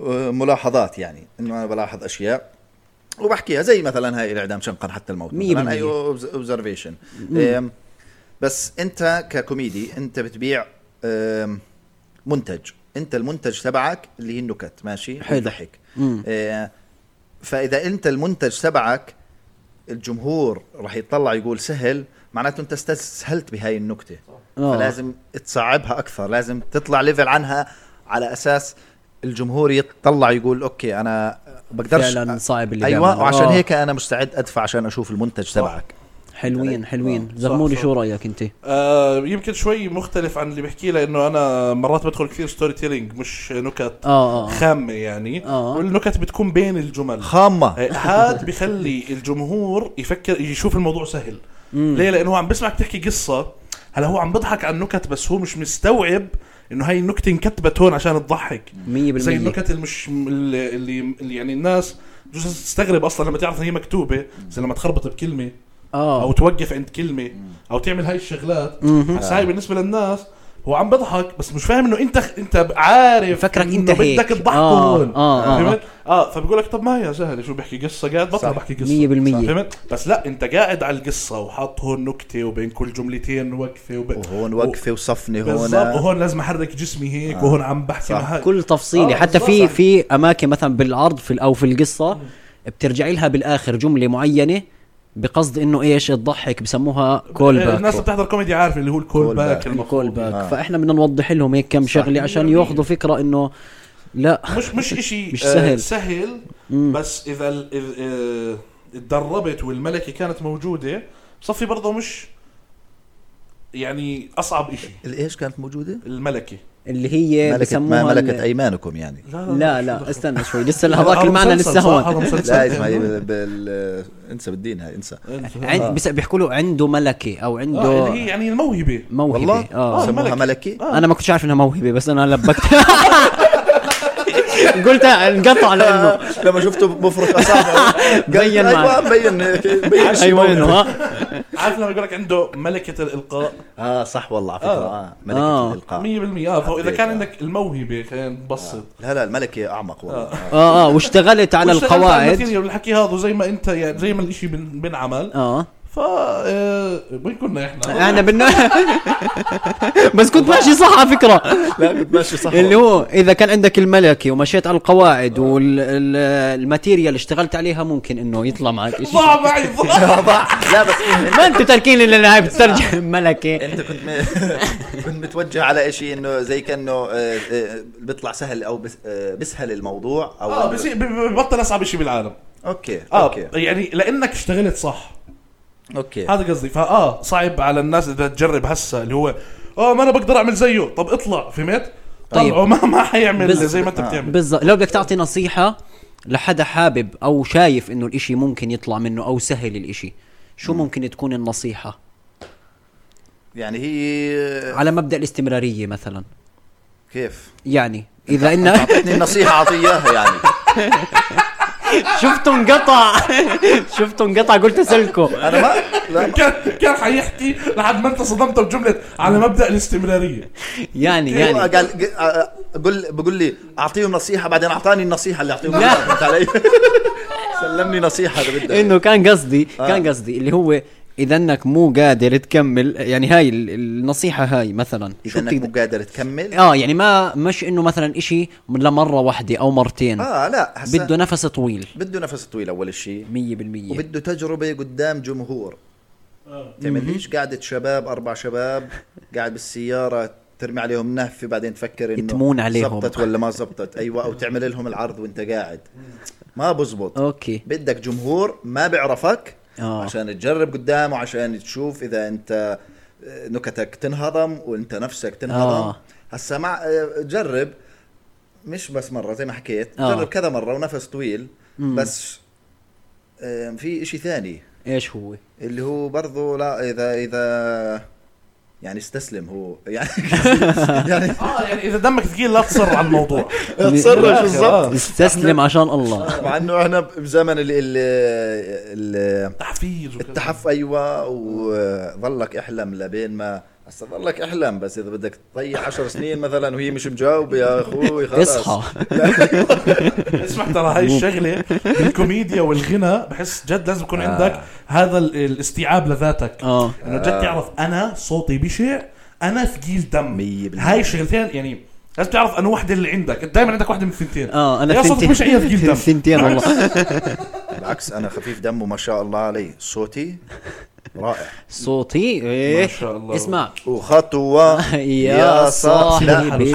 B: آه، ملاحظات يعني انه انا بلاحظ اشياء وبحكيها زي مثلا هاي الاعدام شنقا حتى الموت
A: مية
B: مثلا
A: بالمية.
B: اي اوبزرفيشن بس انت ككوميدي انت بتبيع آم، منتج انت المنتج تبعك اللي هي النكت ماشي
A: حلو.
B: الضحك
A: مم.
B: آه، فاذا انت المنتج تبعك الجمهور راح يطلع يقول سهل معناته انت استسهلت بهاي النكته
A: آه.
B: فلازم تصعبها اكثر لازم تطلع ليفل عنها على اساس الجمهور يطلع يقول اوكي انا بقدرش
A: فعلا صعب اللي
B: ايوه
A: بيعمله.
B: وعشان
A: آه.
B: هيك انا مستعد ادفع عشان اشوف
C: آه.
B: المنتج تبعك يعني،
A: حلوين
B: آه.
A: حلوين
C: صح،
A: زغموري
C: صح.
A: شو رايك انت
C: آه يمكن شوي مختلف عن اللي بحكيه لانه انا مرات بدخل كثير ستوري تيلينج مش نكت
A: آه، آه.
C: خامه يعني
A: آه.
C: والنكت بتكون بين الجمل
B: خامه
C: آه، هاد بخلي الجمهور يفكر يشوف الموضوع سهل ليه لانه هو عم بسمعك تحكي قصه هلا هو عم بضحك على النكت بس هو مش مستوعب انه هاي النكته انكتبت هون عشان تضحك
A: 100%
C: زي النكت المش اللي, اللي اللي يعني الناس بجوز تستغرب اصلا لما تعرف ان هي مكتوبه زي لما تخربط بكلمه
B: آه.
A: اه
C: او توقف عند كلمه او تعمل هاي الشغلات هسا هاي بالنسبه للناس هو عم بضحك بس مش فاهم انه انت انت عارف
A: فكرك
C: إنه
A: أنت هيك.
C: بدك تضحكه
A: آه،
C: هون
A: آه، آه.
C: فهمت؟ اه فبقول لك طب ما هي سهله شو بحكي قصه قاعد بطلع بحكي قصه
A: مية بالمية.
C: صح، فهمت بس لا انت قاعد على القصه وحاط هون نكته وبين كل جملتين وقفه وب...
B: وهون وقفه وصفني هون آه.
C: بالضبط وهون لازم احرك جسمي هيك وهون عم بحكي
B: صح.
C: مع هاي.
A: كل تفصيلي
C: آه،
A: حتى
C: بالضبط،
A: في
C: صح.
A: في اماكن مثلا بالعرض في ال- او في القصه بترجعي لها بالاخر جمله معينه بقصد انه ايش تضحك بسموها كول باك
C: الناس اللي بتحضر كوميدي عارف اللي هو الكول
B: كول
C: باك
B: باك.
A: الكول
C: المفروض.
A: باك
B: آه.
A: فاحنا بدنا نوضح لهم هيك كم شغله عشان ياخذوا فكره انه لا
C: مش مش اشي
A: مش
C: آه،
A: سهل.
C: سهل
A: مم.
C: بس اذا ال- إذ- آه، اتدربت والملكه كانت موجوده بصفي برضه مش يعني اصعب اشي
B: الايش كانت موجوده؟
C: الملكه
A: اللي هي
B: ملكت
A: بسموها
B: ما ملكت
A: إيه، ال-
B: ايمانكم يعني
A: لا لا
C: شو
A: استنى شوي
C: [laughs]
A: لسه
C: دخل؟
A: هذاك
C: هذا
A: المعنى
C: مسلسل،
A: لسه
C: صح؟ هذا
A: هون
C: مسلسل.
B: لا اسمع هي بال... بال... انسى بالدين هاي انسى
A: عند
B: آه.
A: بس بيحكوا له عنده ملكه او عنده
C: آه، اللي هي يعني الموهبه
A: موهبه
B: والله
A: آه.
B: سموها
C: ملكة.
B: ملكه
A: انا ما كنتش عارف انها موهبه بس انا لبكت [laughs] قلت انقطع لانه
B: آه، لما شفته بفرك اصابعه
A: [laughs] بين معك.
B: ايوه مبين هيك، بين شي
A: ايوه
B: موهبة.
A: انه ها
C: عارف لما يقول لك عنده ملكه الالقاء 100%
B: اه صح والله على فكره
C: آه.
B: اه ملكه
A: آه.
B: الالقاء
C: اه فهو اذا
B: حبيت،
C: كان
B: آه.
C: عندك الموهبه كان بسط
B: لا لا الملكه اعمق والله
A: اه اه واشتغلت على
C: واشتغلت
A: القواعد
C: الماتيريال والحكي هذا زي ما انت يعني زي ما الاشي بن- بنعمل
A: اه
C: ف آه، وين كنا احنا؟
A: احنا بدنا [laughs] بس كنت ماشي صح على
C: [laughs]
A: فكره
B: لا كنت ماشي صح
A: اللي هو اذا كان عندك الملكي ومشيت على القواعد والماتيريال اللي اشتغلت عليها ممكن انه يطلع معك شيء
C: ضاع معي
A: [laughs]
C: ضاع
B: [laughs] والله. آه، لا بس
A: ما انتم تاركين لي للنهايه [laughs] بتترجم ملكي
B: انت كنت م... [laughs] كنت متوجه على شيء انه زي كانه آه، آه، بيطلع سهل او بس... آه، بسهل الموضوع او
C: اه بس ببطل اصعب شيء بالعالم
B: اوكي
C: اه
B: اوكي
C: يعني لانك اشتغلت صح
B: اوكي
C: هذا قصدي فاه صعب على الناس اذا تجرب هسه اللي هو اه ما انا بقدر اعمل زيه طب اطلع فهمت؟
A: طيب.
C: طلعوا ما ما حيعمل
A: بس-
C: زي ما انت
B: آه.
C: بتعمل
A: بالضبط لو بدك تعطي نصيحه لحدا حابب او شايف انه الاشي ممكن يطلع منه او سهل الاشي شو ممكن تكون النصيحه
B: يعني هي
A: على مبدا الاستمراريه مثلا
B: كيف
A: يعني اذا ان
B: اعطيتني النصيحه اعطيها يعني
A: شفته انقطع [laughs] شفته انقطع قلت اسلكه
B: انا ما لا
C: كان كان حيحكي لحد ما انت صدمته بجمله على مبدا الاستمراريه
A: يعني
B: يعني
A: يعني
B: قال ق- آه، قل بقول لي اعطيهم نصيحه بعدين اعطاني النصيحه اللي اعطيهم
A: لا.
B: [laughs] اياها فهمت علي سلمني نصيحه اذا بدك
A: انه كان قصدي
B: آه.
A: كان قصدي اللي هو اذا انك مو قادر تكمل يعني هاي ال- النصيحه هاي مثلا
B: اذا انك مو قادر تكمل
A: اه يعني ما مش انه مثلا اشي لمره واحده او مرتين
B: اه لا هسا
A: بده نفس طويل
B: بده نفس طويل اول شيء
A: 100%
B: وبده تجربه قدام جمهور تعمليش قعده شباب اربع شباب قاعد بالسياره ترمي عليهم نهفه بعدين تفكر انه
A: يتمون عليهم.
B: زبطت ولا ما زبطت ايوه او تعمل لهم العرض وانت قاعد ما بزبط
A: اوكي
B: بدك جمهور ما بيعرفك
A: آه.
B: عشان تجرب قدامه عشان تشوف اذا انت آه، نكتك تنهضم وانت نفسك تنهضم
A: آه.
B: هسا مع آه، جرب مش بس مره زي ما حكيت
A: آه.
B: جرب كذا مره ونفس طويل بس آه، في اشي ثاني
A: ايش هو؟
B: اللي هو برضه لا اذا اذا يعني استسلم هو [laughs]
A: [laughs]
B: يعني يعني
C: اه يعني اذا دمك ثقيل لا تصر
A: [laughs]
C: على الموضوع
B: اتصرف بالضبط
A: آه، استسلم عشان الله
B: مع انه احنا بزمن ال ال ال-
C: تحفيز وكذا.
B: التحف ايوه وظلك احلم لبين ما هسه ظلك احلم بس اذا بدك تضيع 10 سنين مثلا وهي مش مجاوبه يا اخوي خلص
A: اصحى
C: اسمع ترى هاي الشغله بالكوميديا والغنى بحس جد لازم يكون
A: آه.
C: عندك هذا ال- الاستيعاب لذاتك
A: اه
C: انه
B: آه.
C: جد تعرف انا صوتي بشع انا ثقيل دم
B: مية بالمية.
C: هاي الشغلتين يعني لازم تعرف انه وحده اللي عندك دائما عندك وحده من الثنتين
A: اه انا
C: يا صوتك بشع يا ثقيل دم
A: ثنتين
C: [laughs]
A: والله
B: بالعكس انا خفيف دم وما شاء الله علي صوتي رائع
A: صوتي ايه
C: ما شاء الله.
A: اسمع
B: وخطوه
A: يا
B: صاح- لا،
A: صاحبي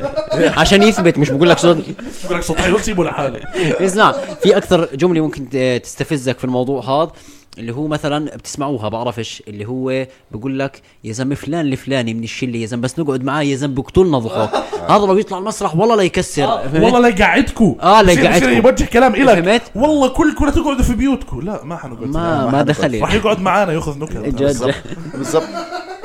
A: [laughs] عشان يثبت مش بقول لك صوت
C: بقول لك صوت حلو سيبه لحاله
A: اسمع في اكثر جمله ممكن ت- تستفزك في الموضوع هذا اللي هو مثلا بتسمعوها بعرفش اللي هو بقول لك يا زلمه فلان الفلاني من الشله يا زلمه بس نقعد معاه يا زلمه بقتلنا ضحك هذا لو يطلع المسرح والله لا يكسر فهمت؟
C: والله لا يقعدكم
A: آه، لا يقعدكم.
C: يوجه كلام
A: فهمت؟
C: الك والله كلكم لا تقعدوا في بيوتكم لا ما حنقعد
A: ما ما
B: حنقعد.
A: دخلت
C: [laughs] راح يقعد معانا ياخذ نكت
A: جد
B: بالضبط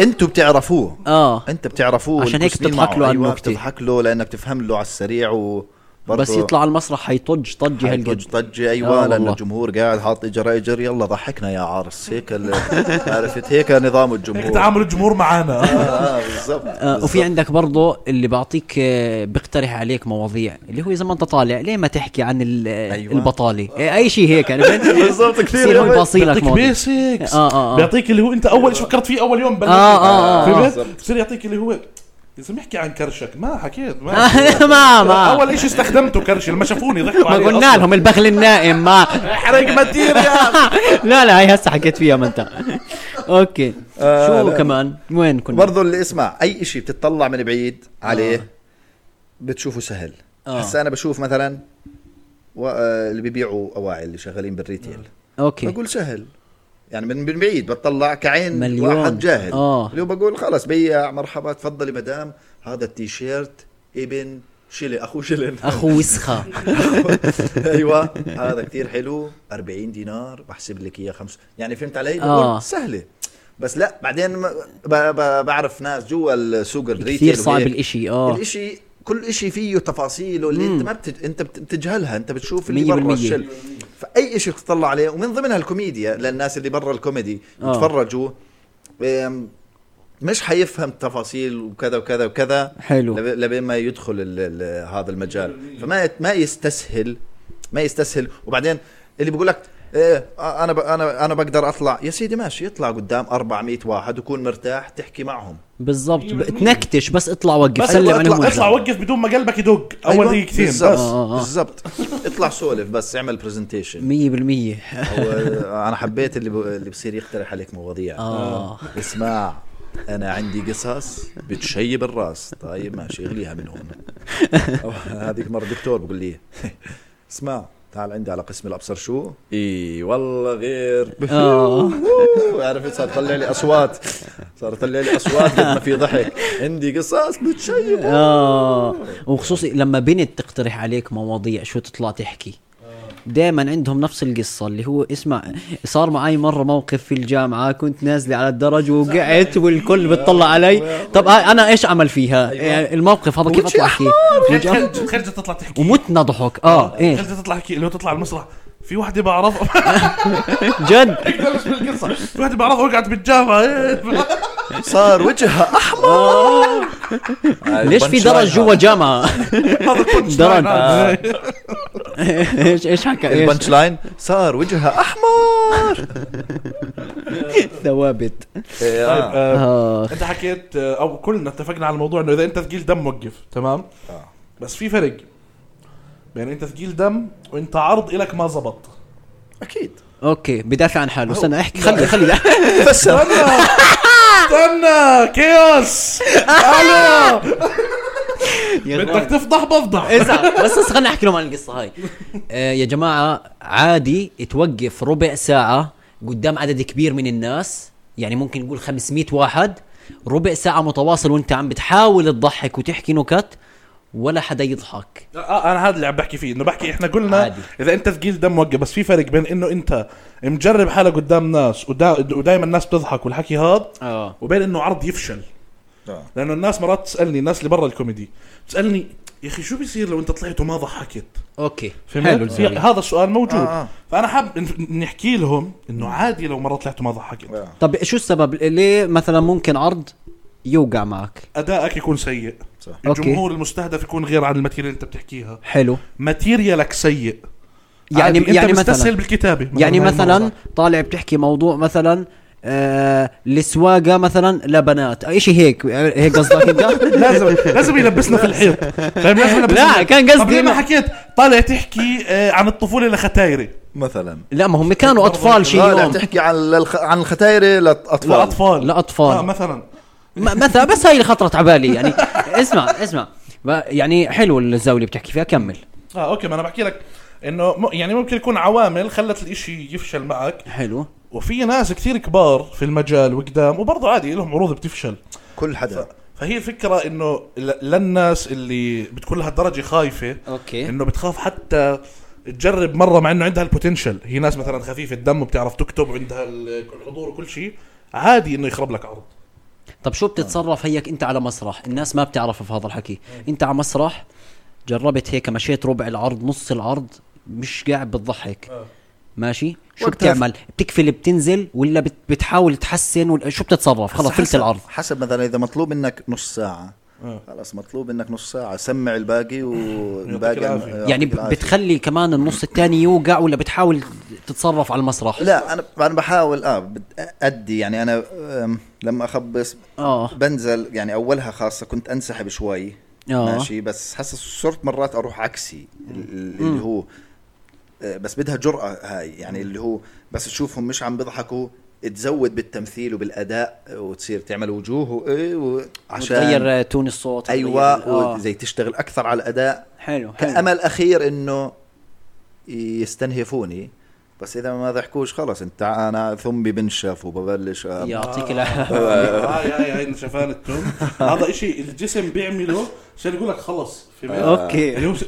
B: انتوا بتعرفوه
A: اه
B: انت بتعرفوه
A: عشان هيك
B: والمسلمين
A: بتضحك
B: معه.
A: له على
B: أيوة،
A: النكتة.
B: بتضحك له لانك بتفهم له على السريع و
A: بس يطلع على المسرح حيطج طجه هالقد
B: هالقد طجه
A: آه
B: ايوه لانه
A: والله.
B: الجمهور قاعد حاط اجر اجر يلا ضحكنا يا عرس هيك ال- عرفت هيك نظام الجمهور
C: هيك تعامل الجمهور معانا
B: اه آه، بالضبط
A: آه، وفي
B: بالضبط.
A: عندك برضه اللي بعطيك آه، بيقترح عليك مواضيع اللي هو اذا ما انت طالع ليه ما تحكي عن ال- آه،
B: أيوة.
A: البطاله آه، اي شيء هيك يعني
B: بالضبط كثير يعني.
A: بصير هو
B: يا
A: يباصي لك
C: بيعطيك
A: مواضيع
C: بيسكس
A: آه، آه، آه.
C: بيعطيك اللي هو انت اول شيء فكرت فيه اول يوم بلشت
A: آه، آه، آه.
C: فهمت
B: بالضبط.
C: بصير يعطيك اللي هو يا زلمه احكي عن كرشك ما
A: [laughs]
C: حكيت ما
A: [laughs] ما ما
C: اول شيء استخدمته كرش لما شافوني ضحكوا
A: ما
C: علي
A: قلنا لهم البخل النائم ما
C: حرق
A: [laughs]
C: ماتيريال
A: لا لا هاي هسه حكيت فيها ما انت اوكي شو كمان وين كنا
B: برضه اللي اسمع اي شيء بتطلع من بعيد عليه بتشوفه سهل
A: آه.
B: هسا انا بشوف مثلا و... آه، اللي بيبيعوا اواعي اللي شغالين بالريتيل
A: آه، اوكي
B: بقول سهل يعني من من بعيد بتطلع كعين
A: مليون.
B: واحد جاهل
A: آه.
B: اللي هو بقول خلص بيع مرحبا تفضلي مدام هذا التيشيرت ابن شلي اخو شلن
A: اخو وسخه
B: ايوه [laughs] هذا كثير حلو 40 دينار بحسب لك اياه خمس يعني فهمت علي؟
A: آه.
B: آه. سهله بس لا بعدين ما- ب... ب... بعرف ناس جوا السوق الريتيل
A: كثير صعب
B: وهيك.
A: الاشي اه
B: الاشي كل اشي فيه تفاصيله اللي انت ما بتج... انت بت- بتجهلها انت بتشوف اللي
A: مية
B: برا
A: بالمية.
B: الشل فاي اشي بتطلع عليه ومن ضمنها الكوميديا للناس اللي برا الكوميدي
A: آه.
B: يتفرجوا أم، مش حيفهم التفاصيل وكذا وكذا وكذا
A: حلو.
B: لب- لبين ما يدخل ال... ال... هذا المجال فما يت- ما يستسهل ما يستسهل وبعدين اللي بقول لك ايه آه، انا ب... انا انا بقدر اطلع يا سيدي ماشي اطلع قدام 400 واحد وكون مرتاح تحكي معهم
A: بالضبط تنكتش بس اطلع وقف
C: بس
A: سلم على
C: اطلع اطلع
A: الموجه
C: وقف بدون ما قلبك يدق اول
B: أيوة،
C: دقيقتين بس
B: بالزبط،
A: آه، آه.
B: بالضبط اطلع سولف بس اعمل برزنتيشن
A: [laughs] 100%
B: انا حبيت اللي ب... اللي بصير يقترح عليك مواضيع
A: آه.
B: اسمع انا عندي قصص بتشيب الراس طيب ماشي اغليها من هون أو هذيك مره دكتور بقول لي [laughs] اسمع تعال عندي على قسم الابصر شو اي والله [laughs] غير
A: آه.
B: عرفت صار طلع لي اصوات صار طلع لي اصوات قد ما في ضحك عندي قصص بتشيب
A: اه وخصوصي لما بنت تقترح عليك مواضيع شو تطلع تحكي دائما عندهم نفس القصة اللي هو اسمع صار معي مرة موقف في الجامعة كنت نازلة على الدرج وقعت والكل بتطلع علي طب هاي انا ايش عمل فيها يعني الموقف هذا كيف اطلع فيه وجه-
C: خرجت تطلع تحكي
A: ومتنا ضحك اه ايش
C: خرجت تطلع تحكي لو تطلع على المسرح في وحده بعرفها
A: جد
C: بلش بالقصه [laughs] في وحده بعرفها وقعت بالجامعه
A: [laughs]
C: إيه،
B: صار وجهها احمر
A: ليش في درج جوا جامعة [laughs]
C: هذا كنت
A: درج. ايش ايش حكى ايش
B: البنش لاين صار وجهها احمر
A: ثوابت
C: طيب.
B: إيه،
A: آه.
C: انت حكيت آه، او كلنا اتفقنا على الموضوع انه اذا انت ثقيل دم وقف تمام بس في فرق بين انت ثقيل دم وانت عرض الك ما زبط
B: اكيد
A: اوكي بدافع عن حاله استنى احكي خلي خلي
C: استنى استنى كيوس الو بدك تفضح بفضح
A: ازعل بس بس خلينا احكي لهم عن القصه هاي آه يا جماعه عادي توقف ربع ساعه قدام عدد كبير من الناس يعني ممكن نقول 500 واحد ربع ساعه متواصل وانت عم بتحاول تضحك وتحكي نكت ولا حدا يضحك
C: اه انا هذا اللي عم بحكي فيه انه بحكي احنا قلنا
A: عادي.
C: عادي. اذا انت ثقيل دم وقف بس في فرق بين انه انت مجرب حالك قدام ناس ودائما الناس بتضحك والحكي هذا
A: اه
C: وبين انه عرض يفشل
B: آه.
C: لانه الناس مرات تسالني الناس اللي برا الكوميدي تسالني يا اخي شو بيصير لو انت طلعت وما ضحكت
A: اوكي حلو
C: فهمت في-
A: الزاوية.
C: هذا السؤال موجود
B: آه،
C: آه
B: آه.
C: آه. فانا حاب إن- نحكي لهم انه عادي لو مره طلعت وما ضحكت
B: آه.
A: طب شو السبب ليه مثلا ممكن عرض يوقع معك
C: ادائك يكون سيء
B: صح.
A: أوكي.
C: الجمهور المستهدف يكون غير عن الماتيريال اللي انت بتحكيها
A: حلو
C: ماتيريالك سيء
A: يعني
C: عادي،
A: يعني
C: انت مستسهل
A: مثلا
C: بالكتابه
A: يعني
C: هاي
A: مثلا
C: الموضوع.
A: طالع بتحكي موضوع مثلا آه السواقه مثلا لبنات أي شيء هيك هيك قصدك
B: [laughs]
A: انت
C: لازم لازم يلبسنا في الحيط فاهم لازم يلبسنا
A: لا،
C: في الحيط.
A: كان قصدي
C: طب ليه ما
A: إنه-
C: حكيت طالع تحكي آه، عن الطفوله لختايري
B: مثلا
A: لا ما هم كانوا اطفال شي
B: لا
A: يوم
B: تحكي عن الخ... عن الختايره للاطفال
C: لاطفال
A: لأطفال.
C: آه، مثلا
A: م- مثلا بس هاي اللي خطرت على بالي يعني اسمع اسمع ب- يعني حلو الزاويه اللي بتحكي فيها كمل
C: اه اوكي ما انا بحكي لك انه م- يعني ممكن يكون عوامل خلت الاشي يفشل معك
A: حلو
C: وفي ناس كثير كبار في المجال وقدام وبرضه عادي لهم عروض بتفشل
B: كل حدا
C: فهي الفكرة انه ل- للناس اللي بتكون لهالدرجة خايفة
A: أوكي.
C: انه بتخاف حتى تجرب مرة مع انه عندها البوتنشل هي ناس مثلا خفيفة الدم وبتعرف تكتب وعندها ال- الحضور وكل شيء عادي انه يخرب لك عرض
A: طب شو بتتصرف هيك انت على مسرح الناس ما بتعرف في هذا الحكي انت على مسرح جربت هيك مشيت ربع العرض نص العرض مش قاعد بتضحك ماشي شو
B: آه. وقتها-
A: بتعمل بتكفل بتنزل ولا بت- بتحاول تحسن ولا شو بتتصرف خلص
B: حسب-
A: فلت العرض
B: حسب مثلا اذا مطلوب منك نص ساعه
C: آه.
B: خلص مطلوب انك نص ساعه سمع الباقي والباقي
C: العافية.
B: يعطيك
A: يعني ب-
B: العافية.
A: بتخلي كمان النص الثاني يوقع ولا بتحاول تتصرف على المسرح
B: لا انا انا بحاول اه بد- ادي يعني انا أم، لما اخبص
A: اه
B: بنزل يعني اولها خاصه كنت انسحب شوي
A: آه.
B: ماشي بس هسه صرت مرات اروح عكسي ال- ال- اللي هو آه، بس بدها جرأة هاي يعني اللي هو بس تشوفهم مش عم بيضحكوا تزود بالتمثيل وبالاداء وتصير تعمل وجوه وإيه و- عشان
A: وتغير آه، تون الصوت
B: ايوه
A: وتغير- آه.
B: زي تشتغل اكثر على الاداء
A: حلو حلو
B: كامل اخير انه يستنهفوني بس اذا ما ضحكوش خلص انت انا ثمي بنشف وببلش آه، أ-
A: يعطيك العافيه
C: اه يا يا هاي شفان التم هذا اشي الجسم بيعمله عشان يقول لك خلص في بالك.
A: اوكي
C: يعني هو ش-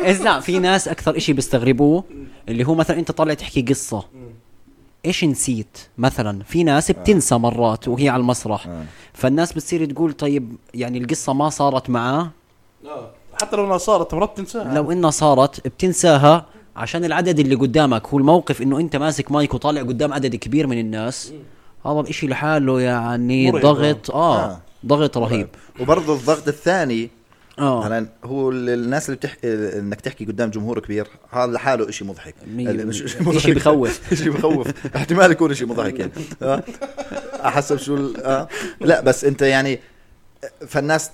A: إذا لا في ناس اكثر إشي بيستغربوه اللي هو مثلا انت طالع تحكي قصه ايش نسيت مثلا في ناس بتنسى مرات وهي على المسرح فالناس بتصير تقول طيب يعني القصه ما صارت معاه
C: [laughs] آه. حتى لو انها صارت مرات بتنساها
A: لو انها صارت بتنساها عشان العدد اللي قدامك هو الموقف انه انت ماسك مايك وطالع قدام عدد كبير من الناس هذا الاشي لحاله يعني
C: مرعب.
A: ضغط اه, آه.
B: آه.
A: ضغط رهيب
B: وبرضه الضغط الثاني
A: اه
B: هلا هو ال- الناس اللي بتحكي انك تحكي قدام جمهور كبير هذا لحاله شيء مضحك
A: مية
B: ال- مش-
A: بالمية.
B: شيء مضحك.
A: إشي
B: [laughs]
A: بخوف.
B: شيء بخوف احتمال يكون شيء مضحك يعني آه. حسب شو ال- آه. لا بس انت يعني فالناس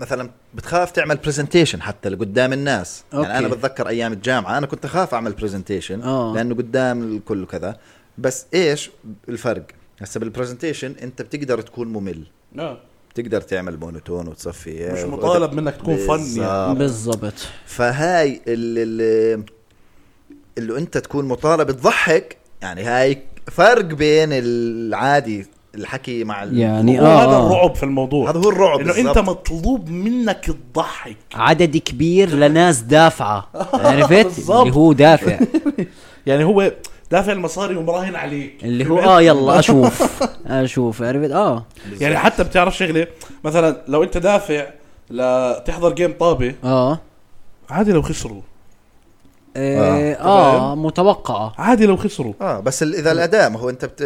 B: مثلا بتخاف تعمل برزنتيشن حتى لقدام الناس
A: أوكي.
B: يعني انا بتذكر ايام الجامعه انا كنت اخاف اعمل برزنتيشن
A: آه.
B: لانه قدام الكل وكذا بس ايش الفرق هسه بالبرزنتيشن انت بتقدر تكون ممل
C: آه.
B: تقدر تعمل مونوتون وتصفي
C: مش مطالب منك تكون فن
A: آه.
C: يعني
B: بالظبط.
A: بالضبط
B: فهاي اللي, اللي انت تكون مطالب تضحك يعني هاي فرق بين العادي الحكي مع ال...
A: يعني
C: هو هذا
A: اه, آه.
C: الرعب في الموضوع
B: هذا هو الرعب
C: انه
B: بالضبط.
C: انت مطلوب منك تضحك
A: عدد كبير لناس
B: [laughs]
A: دافعه عرفت
C: بالظبط.
A: اللي هو دافع
C: يعني هو دافع المصاري ومراهن عليك
A: اللي هو اه يلا
B: [laughs]
A: اشوف اشوف عرفت اه
C: يعني حتى بتعرف شغله مثلا لو انت دافع لتحضر جيم طابه
B: آه.
A: اه
C: عادي لو خسروا
A: إيه،
B: آه.
A: اه متوقعه
C: عادي لو خسروا
B: اه بس ال- اذا الاداء ما هو انت بت...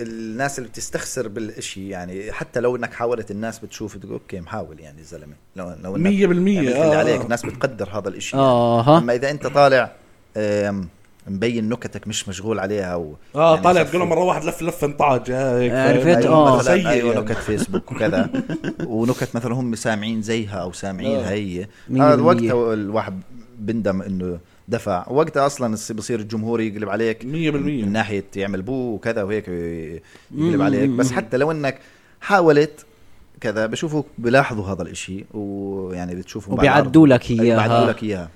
B: الناس اللي بتستخسر بالشيء يعني حتى لو انك حاولت الناس بتشوف بتقول اوكي محاول يعني الزلمه لو لو انك
C: 100%
B: عملت
C: آه.
B: يعني اللي عليك الناس بتقدر هذا الشيء
A: آها.
B: اما اذا انت طالع آم، مبين نكتك مش مشغول عليها و...
C: اه
B: يعني
C: طالع
B: خف-
C: تقول لهم مره واحد لف لفه انطعج آه، هيك
A: عرفت؟
C: فاهم؟
A: آه.
B: مثلاً
C: سيء
B: ايوه
C: يعني.
B: نكت فيسبوك وكذا [laughs] ونكت مثلا هم سامعين زيها او سامعين
C: آه.
B: هي
A: مية
B: هذا
A: بالمية.
B: وقتها الواحد بندم انه دفع وقتها اصلا الس- بصير الجمهور يقلب عليك
C: 100%.
B: من ناحيه يعمل بو وكذا وهيك يقلب عليك بس حتى لو انك حاولت كذا بشوفوك بلاحظوا هذا الاشي ويعني بتشوفوا
A: وبيعدوا لك إياها.
B: بيعدوا لك اياها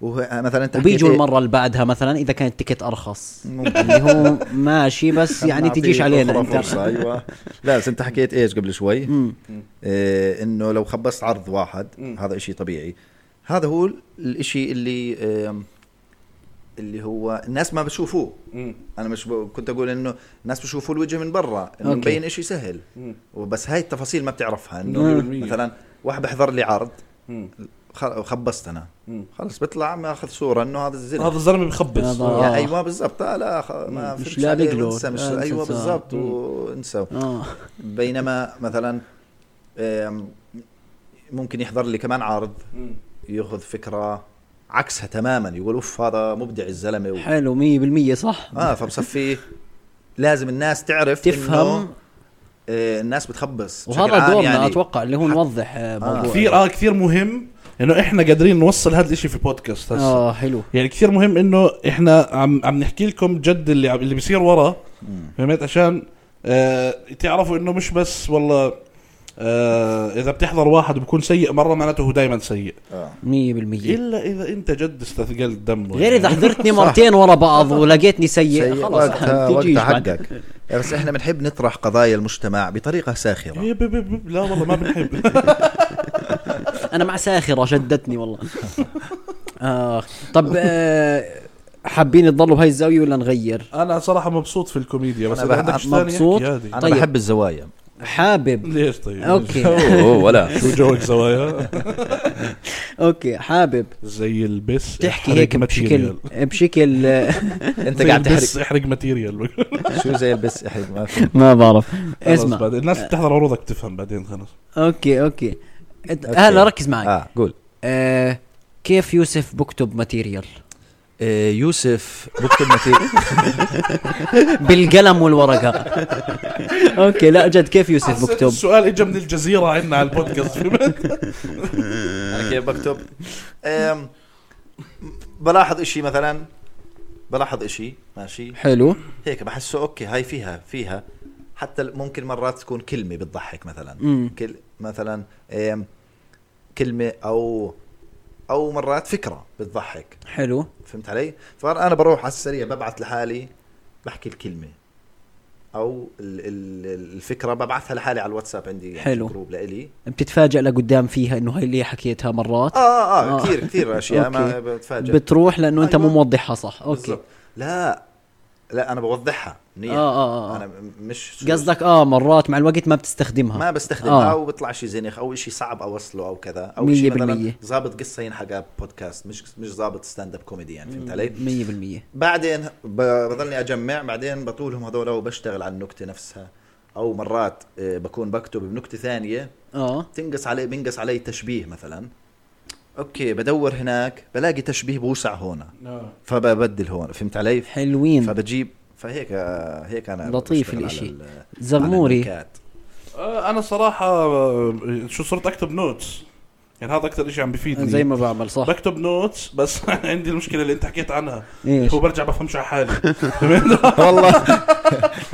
B: ومثلا انت
A: وبيجوا
B: حكيت إيه؟
A: المره اللي بعدها مثلا اذا كان التيكت ارخص
B: ممكن.
A: اللي هو ماشي
B: [laughs]
A: بس يعني
B: نعطيه
A: تجيش علينا
B: أخرى [laughs]
A: انت
B: فرصة، ايوه لا بس انت حكيت ايش قبل شوي إيه انه لو خبصت عرض واحد هذا اشي طبيعي هذا هو الاشي اللي آم، اللي هو الناس ما بتشوفوه
C: مم.
B: انا مش ب... كنت اقول انه الناس بشوفوا الوجه من برا انه
A: أوكي.
B: مبين اشي سهل
C: مم.
B: وبس هاي التفاصيل ما بتعرفها
C: مية
B: انه
C: بالمية.
B: مثلا واحد بحضر لي عرض
C: مم.
B: خ- خبصت انا
C: مم.
B: خلص بطلع ماخذ صوره انه هذا الزلمه
C: هذا الزلمه بخبص
A: هذا- آه.
B: يعني ايوه بالضبط آه لا خ... ما
A: مش
B: فيش
A: لاقي
B: عليه،
A: له.
B: انسى مش
A: آه،
B: ايوه
A: انسى.
B: بالضبط
A: مم.
B: وانسى
A: اه
B: بينما مثلا آم، ممكن يحضر لي كمان عرض
C: مم.
B: ياخذ فكره عكسها تماما يقول اوف هذا مبدع الزلمه و...
A: حلو 100% صح
B: اه فبصفي لازم الناس تعرف
A: تفهم.
B: إنه، آه، الناس بتخبص بشكل
A: وهذا
B: عام يعني.
A: دورنا اتوقع اللي هو نوضح آه، موضوع
C: كثير اه كثير مهم انه احنا قادرين نوصل هذا الشيء في بودكاست هسه
A: اه حلو
C: يعني كثير مهم انه احنا عم عم نحكي لكم جد اللي عم- اللي بيصير ورا فهمت عشان آه تعرفوا انه مش بس والله آه اذا بتحضر واحد بيكون سيء مره معناته هو دائما سيء
B: آه.
A: 100%
C: الا اذا انت جد استثقلت دمه
A: غير
C: يعني.
A: اذا حضرتني مرتين ورا بعض ولقيتني سيء
B: سيء
A: خلاص
B: وقتها
A: أحسن، تجيش
B: وقتها
A: بعد.
B: حقك بس احنا بنحب نطرح قضايا المجتمع بطريقه
A: طيب.
B: ساخره
C: يب- يب- يب- يب، لا والله ما بنحب
A: انا مع ساخره شدتني والله آه طب آه حابين تضلوا بهاي الزاويه ولا نغير
C: انا صراحه مبسوط في الكوميديا بس
B: أنا
C: اذا
B: بح-
C: عندك شيء ثاني
A: مبسوط.
C: احكي عادي
B: انا
A: طيب.
B: بحب الزوايا
A: حابب
C: ليش طيب؟
A: اوكي
D: اوه ولا
B: [laughs]
C: شو جوك زوايا؟
A: اوكي حابب
C: زي البس
A: تحكي
C: احرق
A: هيك
C: ماتيريال.
A: بشكل بشكل آه،
B: [laughs] انت
C: زي
B: قاعد
C: البس
B: تحرق
C: احرق ماتيريال
B: شو زي البس احرق ما
A: [laughs]
B: في
A: ما بعرف
C: خلص
A: اسمع أه.
C: بعد- الناس بتحضر عروضك تفهم بعدين خلص
A: اوكي اوكي أنت-
B: أوكي.
A: هلا ركز معي
B: اه قول
A: آه، كيف يوسف بكتب ماتيريال
B: آه، يوسف بكتب ماتيريال
A: بالقلم والورقه
B: [laughs]
A: اوكي لا جد كيف يوسف بكتب
C: السؤال اجى من الجزيره عندنا على [laughs] البودكاست
B: انا كيف بكتب أم، بلاحظ اشي مثلا بلاحظ اشي ماشي
A: حلو
B: هيك بحسه اوكي هاي فيها فيها حتى ممكن مرات تكون كلمه بتضحك مثلا
A: مم.
B: كل مثلا أم، كلمه او او مرات فكره بتضحك
A: حلو
B: فهمت علي فانا بروح على السريع ببعث لحالي بحكي الكلمه او ال- ال- الفكره ببعثها لحالي على الواتساب عندي يعني
A: حلو.
B: جروب لإلي
A: بتتفاجئ لقدام فيها انه هي اللي حكيتها مرات
B: اه اه,
A: آه.
B: آه. كثير
A: [laughs]
B: كثير اشياء ما
A: أوكي.
B: بتفاجئ
A: بتروح لانه انت مو
B: أيوة.
A: موضحها صح اوكي
B: بالضبط. لا لا انا بوضحها منيح
A: آه، آه، آه.
B: انا م- مش
A: قصدك اه مرات مع الوقت ما بتستخدمها
B: ما بستخدمها
A: آه.
B: او بيطلع شيء زنخ او شيء صعب اوصله او كذا او
A: مية
B: شيء مثلا
A: بالمية.
B: ظابط قصه ينحكى بودكاست مش مش ظابط ستاند اب كوميدي يعني فهمت علي؟
A: 100%
B: بعدين ب- بضلني اجمع بعدين بطولهم هذول وبشتغل على النكته نفسها او مرات آه، بكون بكتب بنكته ثانيه
A: اه
B: تنقص علي بنقص علي تشبيه مثلا اوكي بدور هناك بلاقي تشبيه بوسع هون فببدل هون فهمت علي؟
A: حلوين
B: فبجيب فهيك آه، هيك انا
A: لطيف
B: بشتغل على
A: الإشي.
B: ال- على
A: زغموري
B: النكات.
C: انا صراحه آه، شو صرت اكتب نوتس يعني هذا اكثر شيء عم بفيدني
A: آه، زي ما بعمل صح
C: بكتب نوتس بس [laughs] عندي المشكله اللي انت حكيت عنها
A: ايش
C: هو برجع بفهمش على حالي
B: [laughs]
C: فهمت؟ [laughs]
B: والله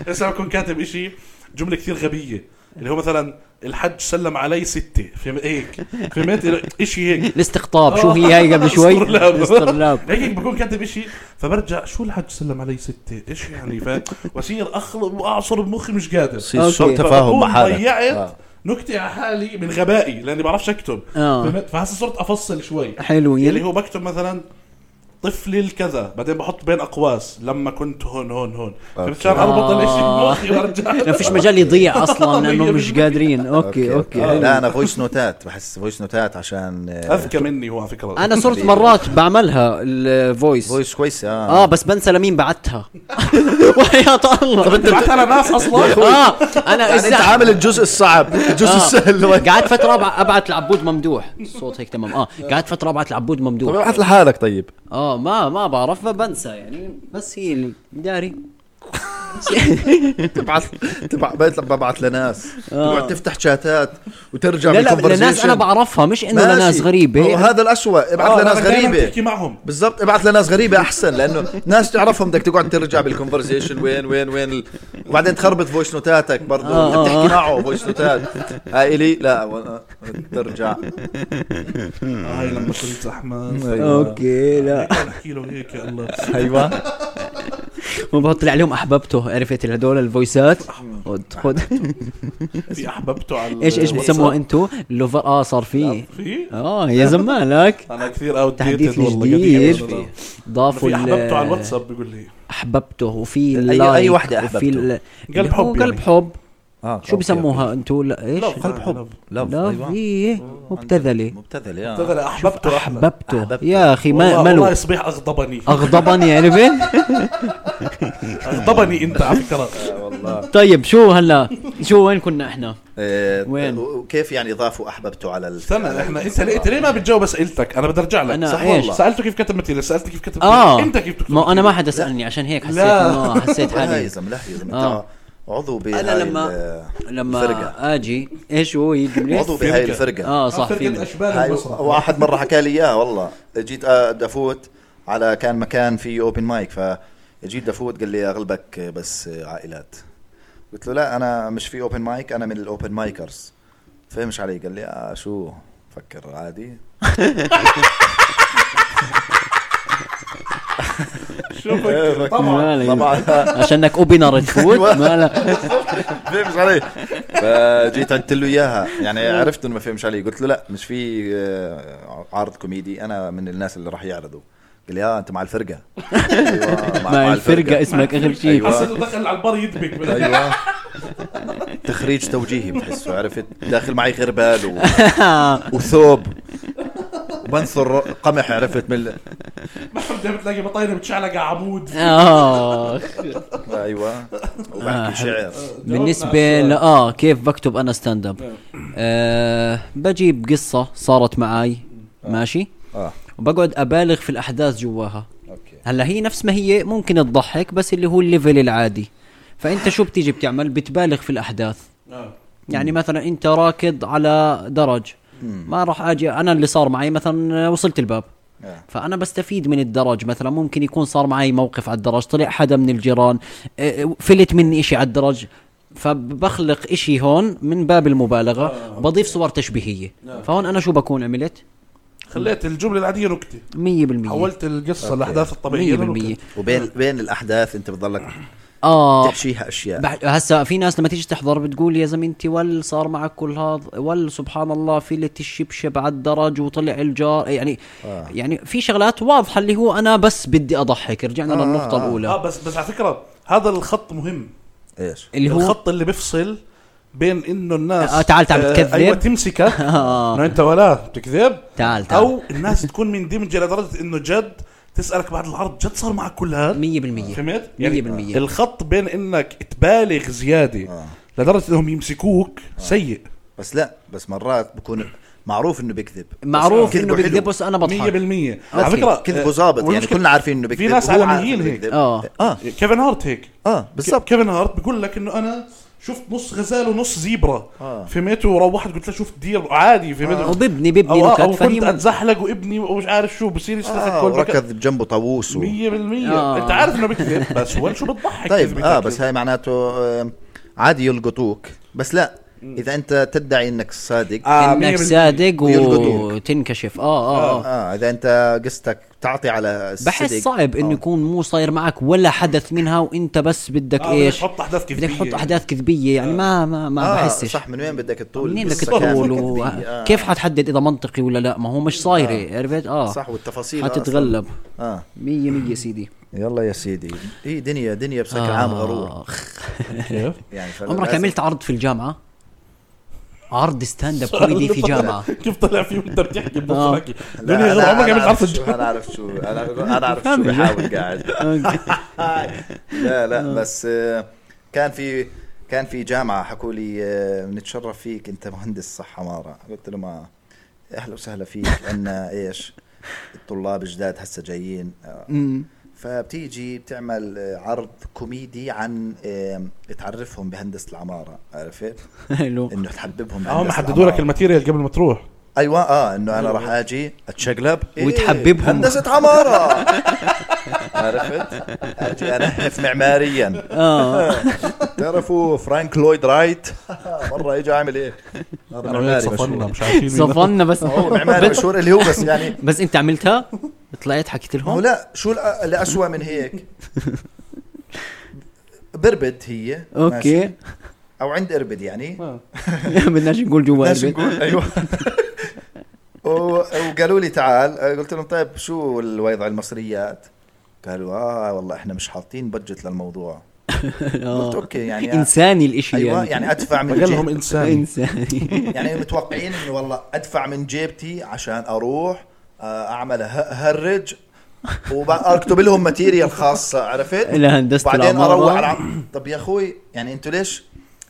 C: هسه بكون كاتب إشي جمله كثير غبيه اللي هو مثلا الحج سلم علي ستة فهمت هيك فهمت إشي هيك
A: الاستقطاب شو هي هاي قبل شوي
C: استرلاب.
A: استرلاب
C: هيك هيك بكون كاتب إشي فبرجع شو الحج سلم علي ستة إيش يعني فاهم واصير اخلط واعصر بمخي مش قادر
A: أوكي.
B: في سوء تفاهم مع
C: فبكون
B: حالك
C: ضيعت
B: آه.
C: نكتة على حالي من غبائي لاني بعرفش اكتب
A: اه
B: آه.
C: فهمت فهسه صرت افصل شوي اللي
A: حلوين
C: هو بكتب مثلا طفلي الكذا بعدين بحط بين اقواس لما كنت هون هون هون فهمت شان انا بطل شيء بمخي
A: ما
C: وارجع
A: فيش مجال يضيع اصلا
C: مية
A: لانه مش
C: بالمية.
A: قادرين اوكي اوكي
B: آه،
A: حلو.
B: لا انا فويس نوتات بحس فويس نوتات عشان آه،
C: اذكى مني هو على آه، فكره
A: انا صرت مرات بعملها الفويس
B: فويس كويس اه
A: اه بس بنسى لمين بعتها [laughs] ويا الله
C: بعت على
A: [laughs]
C: ناس اصلا
A: اه انا
B: يعني انت
A: إزاي-
B: عامل الجزء الصعب الجزء
A: آه.
B: [laughs] السهل
A: قعدت فتره أبع- ابعت لعبود ممدوح الصوت هيك تمام اه قعدت فتره ابعت لعبود
B: طب
A: ممدوح
B: ابعث لحالك طيب
A: اه ما ما بعرف بنسى يعني بس هي اللي داري
B: تبعث تبع- بقيت لما ببعث لناس
A: آه.
B: تقعد تفتح شاتات وترجع
A: لا لا
B: بالconversation.
A: لناس انا بعرفها مش انه
B: ماشي.
A: لناس آه،
B: هو
A: غريبه
B: هذا الأسوأ ابعث لناس غريبه
C: تحكي معهم
B: بالضبط ابعث لناس غريبه احسن لانه ناس تعرفهم بدك تقعد ترجع بالكونفرزيشن وين وين وين ال... وبعدين تخربط فويس نوتاتك برضه
A: آه،
B: انت
A: آه،
B: بتحكي معه فويس نوتات هاي الي لا و- ترجع
C: آه، هاي لما كنت زحمه
A: أيوة. اوكي لا [laughs]
C: احكي له هيك يا الله
B: [laughs]
A: أيوة.
B: ايوه
A: وبطلع عليهم احببته عرفت هدول الفويسات خد خد
C: في احببته على
A: ايش ايش بتسموها
C: الواتساب.
A: انتو اللوفر اه صار في
C: في
A: اه يا زمانك
C: انا كثير اوت
A: تحديث
C: ديتد والله
A: جديد.
C: قديم. أنا
A: ضافوا ال-
C: في احببته على الواتساب بيقول لي
A: احببته وفي
B: أي-
A: اللايك
B: أي وحدة
A: وفي
B: أحببته؟
A: ال-
C: قلب حب يعني.
A: قلب حب
B: آه،
A: شو بيسموها انتو لا ايش
C: لا قلب حب
B: لاف
C: أيوة.
A: لا إيه، في مبتذله
B: مبتذل يا
C: تذل احببته احلى
A: احببته
B: أحببته.
A: يا اخي ما
C: والله- والله
A: ملو
C: صبيح اغضبني
A: اغضبني عرفت
C: اغضبني انت على فكره
B: والله
A: طيب شو هلا شو وين كنا احنا
B: إيه،
A: وين؟
B: وكيف يعني ضافوا احببته على ال...
C: استنى احنا انت ليه انت ليه ما بتجاوب اسئلتك انا بدي ارجع لك
A: يعني أنا
C: صح
A: إيش؟
C: والله سالته كيف كتب ماتيريال سالته كيف كتب
A: اه
C: ماتيريال. انت كيف تكتب
A: ما انا ما حدا سالني عشان هيك حسيت
C: لا.
A: انه آه،
C: [laughs]
A: حسيت
B: لا يا
A: حالي
B: زلمه لا يا زلمه
A: آه.
B: انت عضو بهاي
A: انا لما
B: ال- الفرقه
A: لما اجي ايش هو يجي
B: عضو بهاي
C: فرقة.
B: الفرقه
A: اه صح
C: فرقه
A: في
C: اشبال
B: هاي
C: المسرح
B: واحد مره حكى لي اياها والله جيت آه، بدي افوت على كان مكان فيه اوبن مايك فجيت بدي افوت قال لي اغلبك بس عائلات قلت له لا انا مش في اوبن مايك انا من الاوبن مايكرز فهمش علي قال لي آه شو فكر عادي
C: [laughs]
A: [laughs]
C: شوفك طبعا
B: طبعا
A: عشانك اوبنر
C: [laughs]
A: تفوت ما لا
B: فهمش علي فجيت عدت له اياها يعني عرفت انه ما فهمش علي قلت له لا مش في آه، عرض كوميدي انا من الناس اللي راح يعرضوا قال لي اه انت مع الفرقه أيوة،
A: مع الفرقه اسمك اغلب شيء
B: أيوة.
A: أيوه.
C: [laughs] حسيته دخل على البار يدبك
B: ايوه أيوة. تخريج توجيهي بتحسه عرفت داخل معي غربال
A: [laughs]
B: و... وثوب وبنثر قمح عرفت من
C: محمد بتلاقي بطاينه بتشعلق على عمود
A: آه.
B: ايوه
A: آه،
B: وبحكي شعر
A: بالنسبة ل اه كيف بكتب انا ستاند اب؟ آه بجيب قصة صارت معي ماشي؟
B: اه
A: وبقعد ابالغ في الاحداث جواها
B: اوكي
A: هلا هي نفس ما هي ممكن تضحك بس اللي هو الليفل العادي فانت شو بتيجي بتعمل بتبالغ في الاحداث
C: نعم.
A: يعني مثلا انت راكض على درج ما راح اجي انا اللي صار معي مثلا وصلت الباب
B: آه.
A: فانا بستفيد من الدرج مثلا ممكن يكون صار معي موقف على الدرج طلع حدا من الجيران آه، فلت مني اشي على الدرج فبخلق اشي هون من باب المبالغه بضيف صور تشبيهيه فهون انا شو بكون عملت
C: خليت الجمله العاديه نكته
A: 100%
C: حولت القصه الاحداث الطبيعيه
A: 100%
B: وبين بين الاحداث انت بتضلك
A: اه
B: تحشيها اشياء
A: بح... هسا في ناس لما تيجي تحضر بتقول يا زميلتي ول صار معك كل هذا ول سبحان الله فيلت الشبشب على الدرج وطلع الجار يعني آه. يعني في شغلات واضحه اللي هو انا بس بدي اضحك رجعنا آه. للنقطه الاولى آه.
C: اه بس بس على فكره هذا الخط مهم
B: ايش
A: اللي هو
C: الخط اللي بيفصل بين انه الناس
A: آه، تعال تعال بتكذب. آه.
C: ايوه
A: [laughs]
C: تمسكك انه انت ولا بتكذب
A: تعال تعال
C: او الناس تكون مندمجه لدرجه انه جد تسالك بعد العرض جد صار معك كل هذا
A: 100%
C: فهمت؟ يعني
A: مية بالمية.
C: الخط بين انك تبالغ زياده
B: آه.
C: لدرجه انهم يمسكوك سيء
B: بس لا بس مرات بكون معروف انه بكذب
A: معروف
B: كذبه
A: انه
B: حلو.
A: بكذب بس انا
C: 100%
A: بضحك
C: على
A: أوكي.
C: فكره
B: كذبه
C: آه،
B: ظابط يعني
C: والمشكلة-
B: كلنا عارفين انه بكذب
C: في ناس
B: وهو عارف
C: عالميين
B: إنه
C: هيك.
B: بكذب.
A: آه.
B: اه
C: كيفن هارت هيك
B: اه بالضبط
C: كيفن هارت بيقول لك انه انا شفت نص غزال ونص زيبرا
B: آه.
C: فهمت وروحت قلت له شفت دير عادي فهمت
A: وببني ببني
C: او, أو
A: نكت
C: كنت
A: فهي
C: اتزحلق وابني ومش عارف شو بصير
B: آه،
C: يستحق كل
B: وركض جنبه طاووس و...
C: 100%
A: آه.
C: انت عارف انه بكذب بس وين شو بتضحك
B: طيب
C: إذا
B: اه
C: بتأكد.
B: بس هاي معناته آه، عادي يلقطوك بس لا اذا انت تدعي انك صادق
C: آه،
A: انك
C: 100%
A: صادق
B: ويلقطوك.
A: وتنكشف اه اه, آه.
B: اه اذا انت قصتك تعطي على الصدق آه.
A: بحس صعب
C: آه.
A: انه يكون مو صاير معك ولا حدث منها وانت بس بدك
C: آه، بدك
A: ايش
C: تحط احداث كذبيه
A: بدك تحط احداث كذبيه يعني ما ما ما
B: آه
A: بحسش
B: صح من وين بدك تطول
A: منين بدك
B: القصة
A: تطول
B: كاملة؟
A: و...
B: كذبية. آه.
A: كيف حتحدد اذا منطقي ولا لا ما هو مش صايره عرفت اه
B: صح والتفاصيل آه،
A: حتتغلب
B: أصلاً. اه
A: 100 100 سيدي
B: يلا يا سيدي هي دنيا دنيا بشكل
A: آه.
B: عام غرور
A: آخ.
C: كيف؟
B: يعني
A: عمرك
B: فللأسف-
A: عملت عرض في الجامعه عرض ستاند
B: [laughs]
A: اب كوميدي
C: [laughs]
A: في جامعه
C: كيف طلع فيه وانت بتحكي بنص
A: آه.
C: حكي
B: لا،
C: دنيا غير
B: أنا-
C: عمرك
B: أنا
C: عملت عرض
B: عارف شو-
C: الجو
B: انا اعرف شو انا انا اعرف شو بحاول قاعد لا لا بس آه، كان في كان في جامعه حكوا لي آه، بنتشرف فيك انت مهندس صح عماره قلت له ما اهلا وسهلا فيك عندنا ايش الطلاب جداد هسه جايين آه،
A: أمم.
B: فبتيجي بتعمل آه، عرض كوميدي عن آه، تعرفهم بهندسه العماره عرفت
A: حلو
B: انه تحببهم
C: هم
B: بهندسة
C: حددوا لك
B: العمارة.
C: الماتيريال قبل ما تروح
B: ايوه اه انه انا راح اجي اتشقلب
A: وتحببهم.
B: هندسه عماره عرفت؟ اجي انحف معماريا [laughs]
A: اه
B: تعرفوا فرانك لويد رايت مره اجى عامل ايه؟ هذا
C: انا وياك
B: معماري
C: صفنا
B: مشهور
C: يعني مش عارفين مين.
A: صفنا بس
B: هو معماري مشهور اللي هو بس
A: [laughs]
B: يعني
A: بس انت عملتها طلعت حكيت
B: ما
A: لهم
B: هو لا شو الأ- الاسوأ من هيك؟ بربد هي ماشي.
A: اوكي
B: او عند اربد يعني
A: [laughs] بدناش نقول جوا
B: لازم
A: البيت.
B: نقول ايوه و- وقالوا لي تعال قلت لهم طيب شو الوضع المصريات؟ قالوا اه والله احنا مش حاطين بجت للموضوع قلت
A: [laughs] آه.
B: اوكي يعني
A: انساني الاشي
B: ايوه يعني ادفع من
C: قال
B: جيبتي
C: انسان
A: [laughs] انساني
B: يعني متوقعين انه والله ادفع من جيبتي عشان اروح آه، اعمل ه- هرج واكتب لهم ماتيريال خاصه عرفت؟
A: لهندسه
B: وبعدين
A: العماره
B: اروح
A: [laughs]
B: على طب يا اخوي يعني انتوا ليش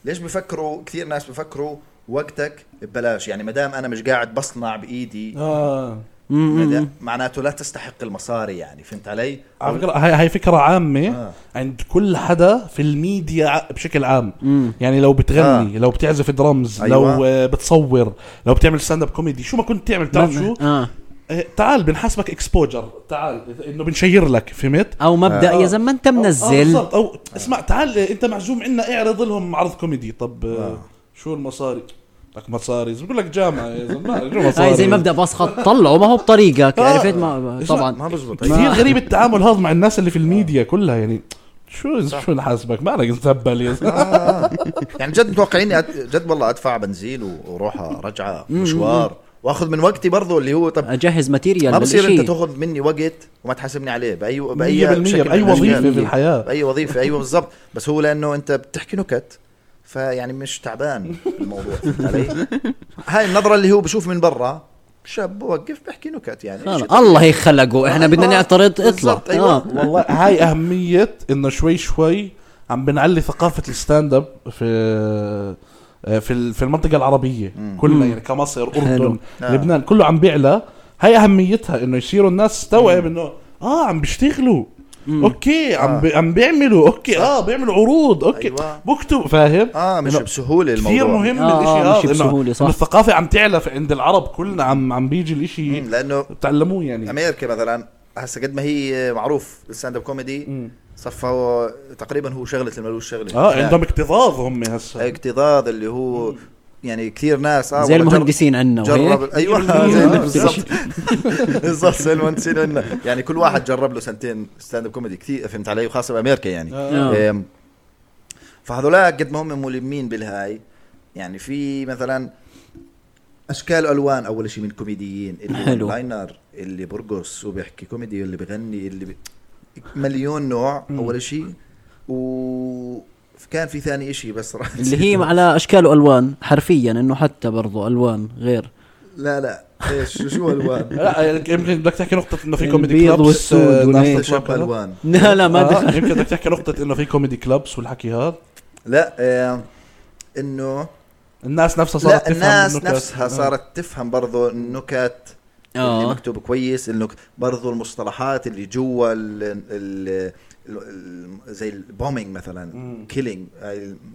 B: ليش بفكروا كثير ناس بفكروا وقتك ببلاش يعني ما دام انا مش قاعد بصنع بايدي
C: اه
B: مدا- معناته لا تستحق المصاري يعني فهمت علي؟
C: على فكره هاي هاي فكره عامه
B: آه.
C: عند كل حدا في الميديا ع- بشكل عام
A: مم.
C: يعني لو بتغني لو بتعزف درمز
B: آه. أيوة.
C: لو آه، بتصور لو بتعمل ستاند اب كوميدي شو ما كنت تعمل بتعرف شو
A: اه
C: آه، تعال بنحاسبك اكسبوجر تعال انه بنشير لك فهمت
A: او مبدا يا زلمه انت
C: آه
A: منزل
C: بالضبط او اسمع تعال آه، انت معزوم عنا اعرض لهم عرض كوميدي طب آه، شو المصاري لك مصاري بقول لك جامعه يا زلمه شو مصاري
A: هاي زي مبدا بسخط طلعه ما هو
B: آه.
A: بطريقك عرفت ما
C: اسمع،
A: طبعا
B: بزبط
C: كثير غريب التعامل هذا مع الناس اللي في الميديا كلها يعني شو شو نحاسبك مالك زبل يا زلمه
B: [laughs] يعني جد متوقعين أت- جد والله ادفع بنزين و- واروح رجعه مشوار واخذ من وقتي برضه اللي هو طب
A: اجهز ماتيريال
B: ما بصير
A: للإشي.
B: انت تاخذ مني وقت وما تحاسبني عليه باي باي
C: 100%
B: شكل من
C: باي
B: الأشكال. أيوة
C: وظيفه في الحياه
B: باي وظيفه ايوه بالضبط بس هو لانه انت بتحكي نكت فيعني مش تعبان الموضوع فهمت علي؟ هاي النظره اللي هو بشوف من برا شاب بوقف بحكي نكت يعني
A: آه،
B: إيش
A: الله يخلقه احنا
B: آه،
A: بدنا
B: آه،
A: نعترض اطلع
B: بالضبط، أيوة.
A: آه.
C: والله هاي اهميه انه شوي شوي عم بنعلي ثقافه الستاند اب في آه، في ال- في المنطقه العربيه كلها يعني كمصر اردن
A: حلو. نعم.
B: آه.
C: لبنان كله عم بيعلى هاي اهميتها انه يصيروا الناس تستوعب انه اه عم بيشتغلوا اوكي
A: آه.
C: عم بي- عم بيعملوا اوكي اه بيعملوا عروض اوكي
B: أيوة.
C: بكتب فاهم
B: اه مش
C: إنه
B: بسهوله الموضوع
C: كثير مهم
A: آه،
C: الاشي
A: آه، مش
C: إنه-
A: بسهولة، صح.
C: إنه الثقافه عم تعلى في- عند العرب كلنا عم عم بيجي الاشي
B: مم، لانه
C: بتعلموه يعني
B: امريكا مثلا هسه قد ما هي معروف الستاند اب كوميدي
C: مم.
B: صفى تقريبا هو شغله اللي ملوش شغله
C: اه عندهم اكتظاظ هم هسه
B: اكتظاظ اللي هو يعني كثير ناس اه
A: زي
B: والله جرب-
A: المهندسين عنا
B: جرب
A: وهيك
B: ايوه [laughs] زي-
C: آه،
B: بالضبط [laughs] بالضبط زي المهندسين عنا يعني كل واحد جرب له سنتين ستاند اب كوميدي كثير فهمت علي وخاصه بامريكا يعني
A: آه.
B: إم، فهذولاك قد ما هم ملمين بالهاي يعني في مثلا اشكال والوان اول شيء من كوميديين اللي
A: حلو.
B: حلو لاينر اللي برقص وبيحكي كوميدي اللي بغني اللي ب... مليون نوع اول شيء وكان في ثاني شيء بس راح
A: اللي هي على اشكال والوان حرفيا انه حتى برضو الوان غير
B: [laughs] لا لا ايش شو- شو الوان؟
C: لا يعني يمكن بدك تحكي نقطة انه في كوميدي
A: البيض
C: كلابس
A: والسود
C: آه،
A: والهيك.
C: ناس
B: شب
C: تتوقع.
B: الوان
A: لا لا ما
C: آه،
A: دخل
C: يمكن بدك تحكي نقطة انه في كوميدي كلابس والحكي هذا
B: لا آه، انه
C: الناس نفسها صارت
B: لا
C: تفهم
B: الناس
C: النكت.
B: نفسها
C: آه.
B: صارت تفهم برضو النكت اللي
A: اه
B: مكتوب كويس النك... برضو المصطلحات اللي جوا ال... ال... ال... زي البومينج مثلا
C: مم.
B: كيلينج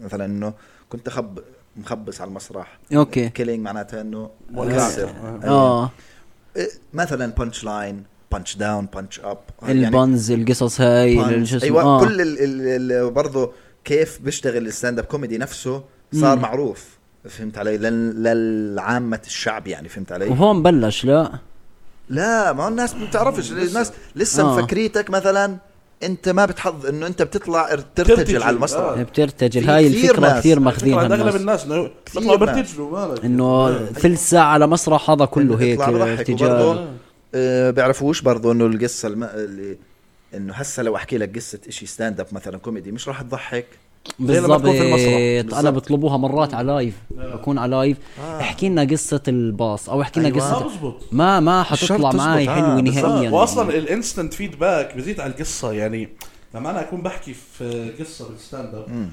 B: مثلا انه كنت خب مخبص على المسرح
A: اوكي
B: كيلينج معناتها انه
C: ولعت.
B: مكسر
C: آه.
A: اه
B: إيه، مثلا بانش لاين بانش داون بانش اب
A: البنز القصص هاي شو اسمه
B: ايوه
A: آه.
B: آه. يعني كل ال ال ال برضه كيف بيشتغل الستاند اب كوميدي نفسه صار
A: مم.
B: مم. معروف فهمت علي لل- للعامة الشعب يعني فهمت علي
A: وهون بلش لا
B: لا ما هو الناس ما بتعرفش الناس لسه
A: آه.
B: آه. مفكريتك مثلا انت ما بتحظ انه انت بتطلع ار- ترتجل
C: آه.
B: على
A: إيه،
B: المسرح
A: بترتجل
B: في
A: هاي
B: كثير
A: الفكره
B: ناس.
A: كثير
C: الفكرة
A: ماخذينها
C: عند اغلب
A: الناس
C: الناس انه
B: كثير
C: بطلعوا
B: ناس.
C: برتجلوا مالك
A: انه ثلث ساعه على مسرح هذا كله هيك
B: بيطلع بضحك
A: ارتجال
B: وبرضه آه، بيعرفوش برضه انه القصه الم... اللي انه هسه لو احكي لك قصه شيء ستاند اب مثلا كوميدي مش راح تضحك
C: زي لما تكون في المسرح.
A: بالضبط انا
B: بالضبط.
A: بطلبوها مرات على لايف بكون على لايف احكي لنا قصه الباص او احكي لنا
B: أيوة.
C: اه
A: قصه
C: بزبط
A: ما ما
B: الشرط
A: حتطلع
B: تزبط،
A: معي
B: آه،
A: حلوه
B: بالضبط.
A: نهائيا
C: واصلا الانستنت فيدباك بزيد على القصه يعني لما انا اكون بحكي في قصه بالستاند اب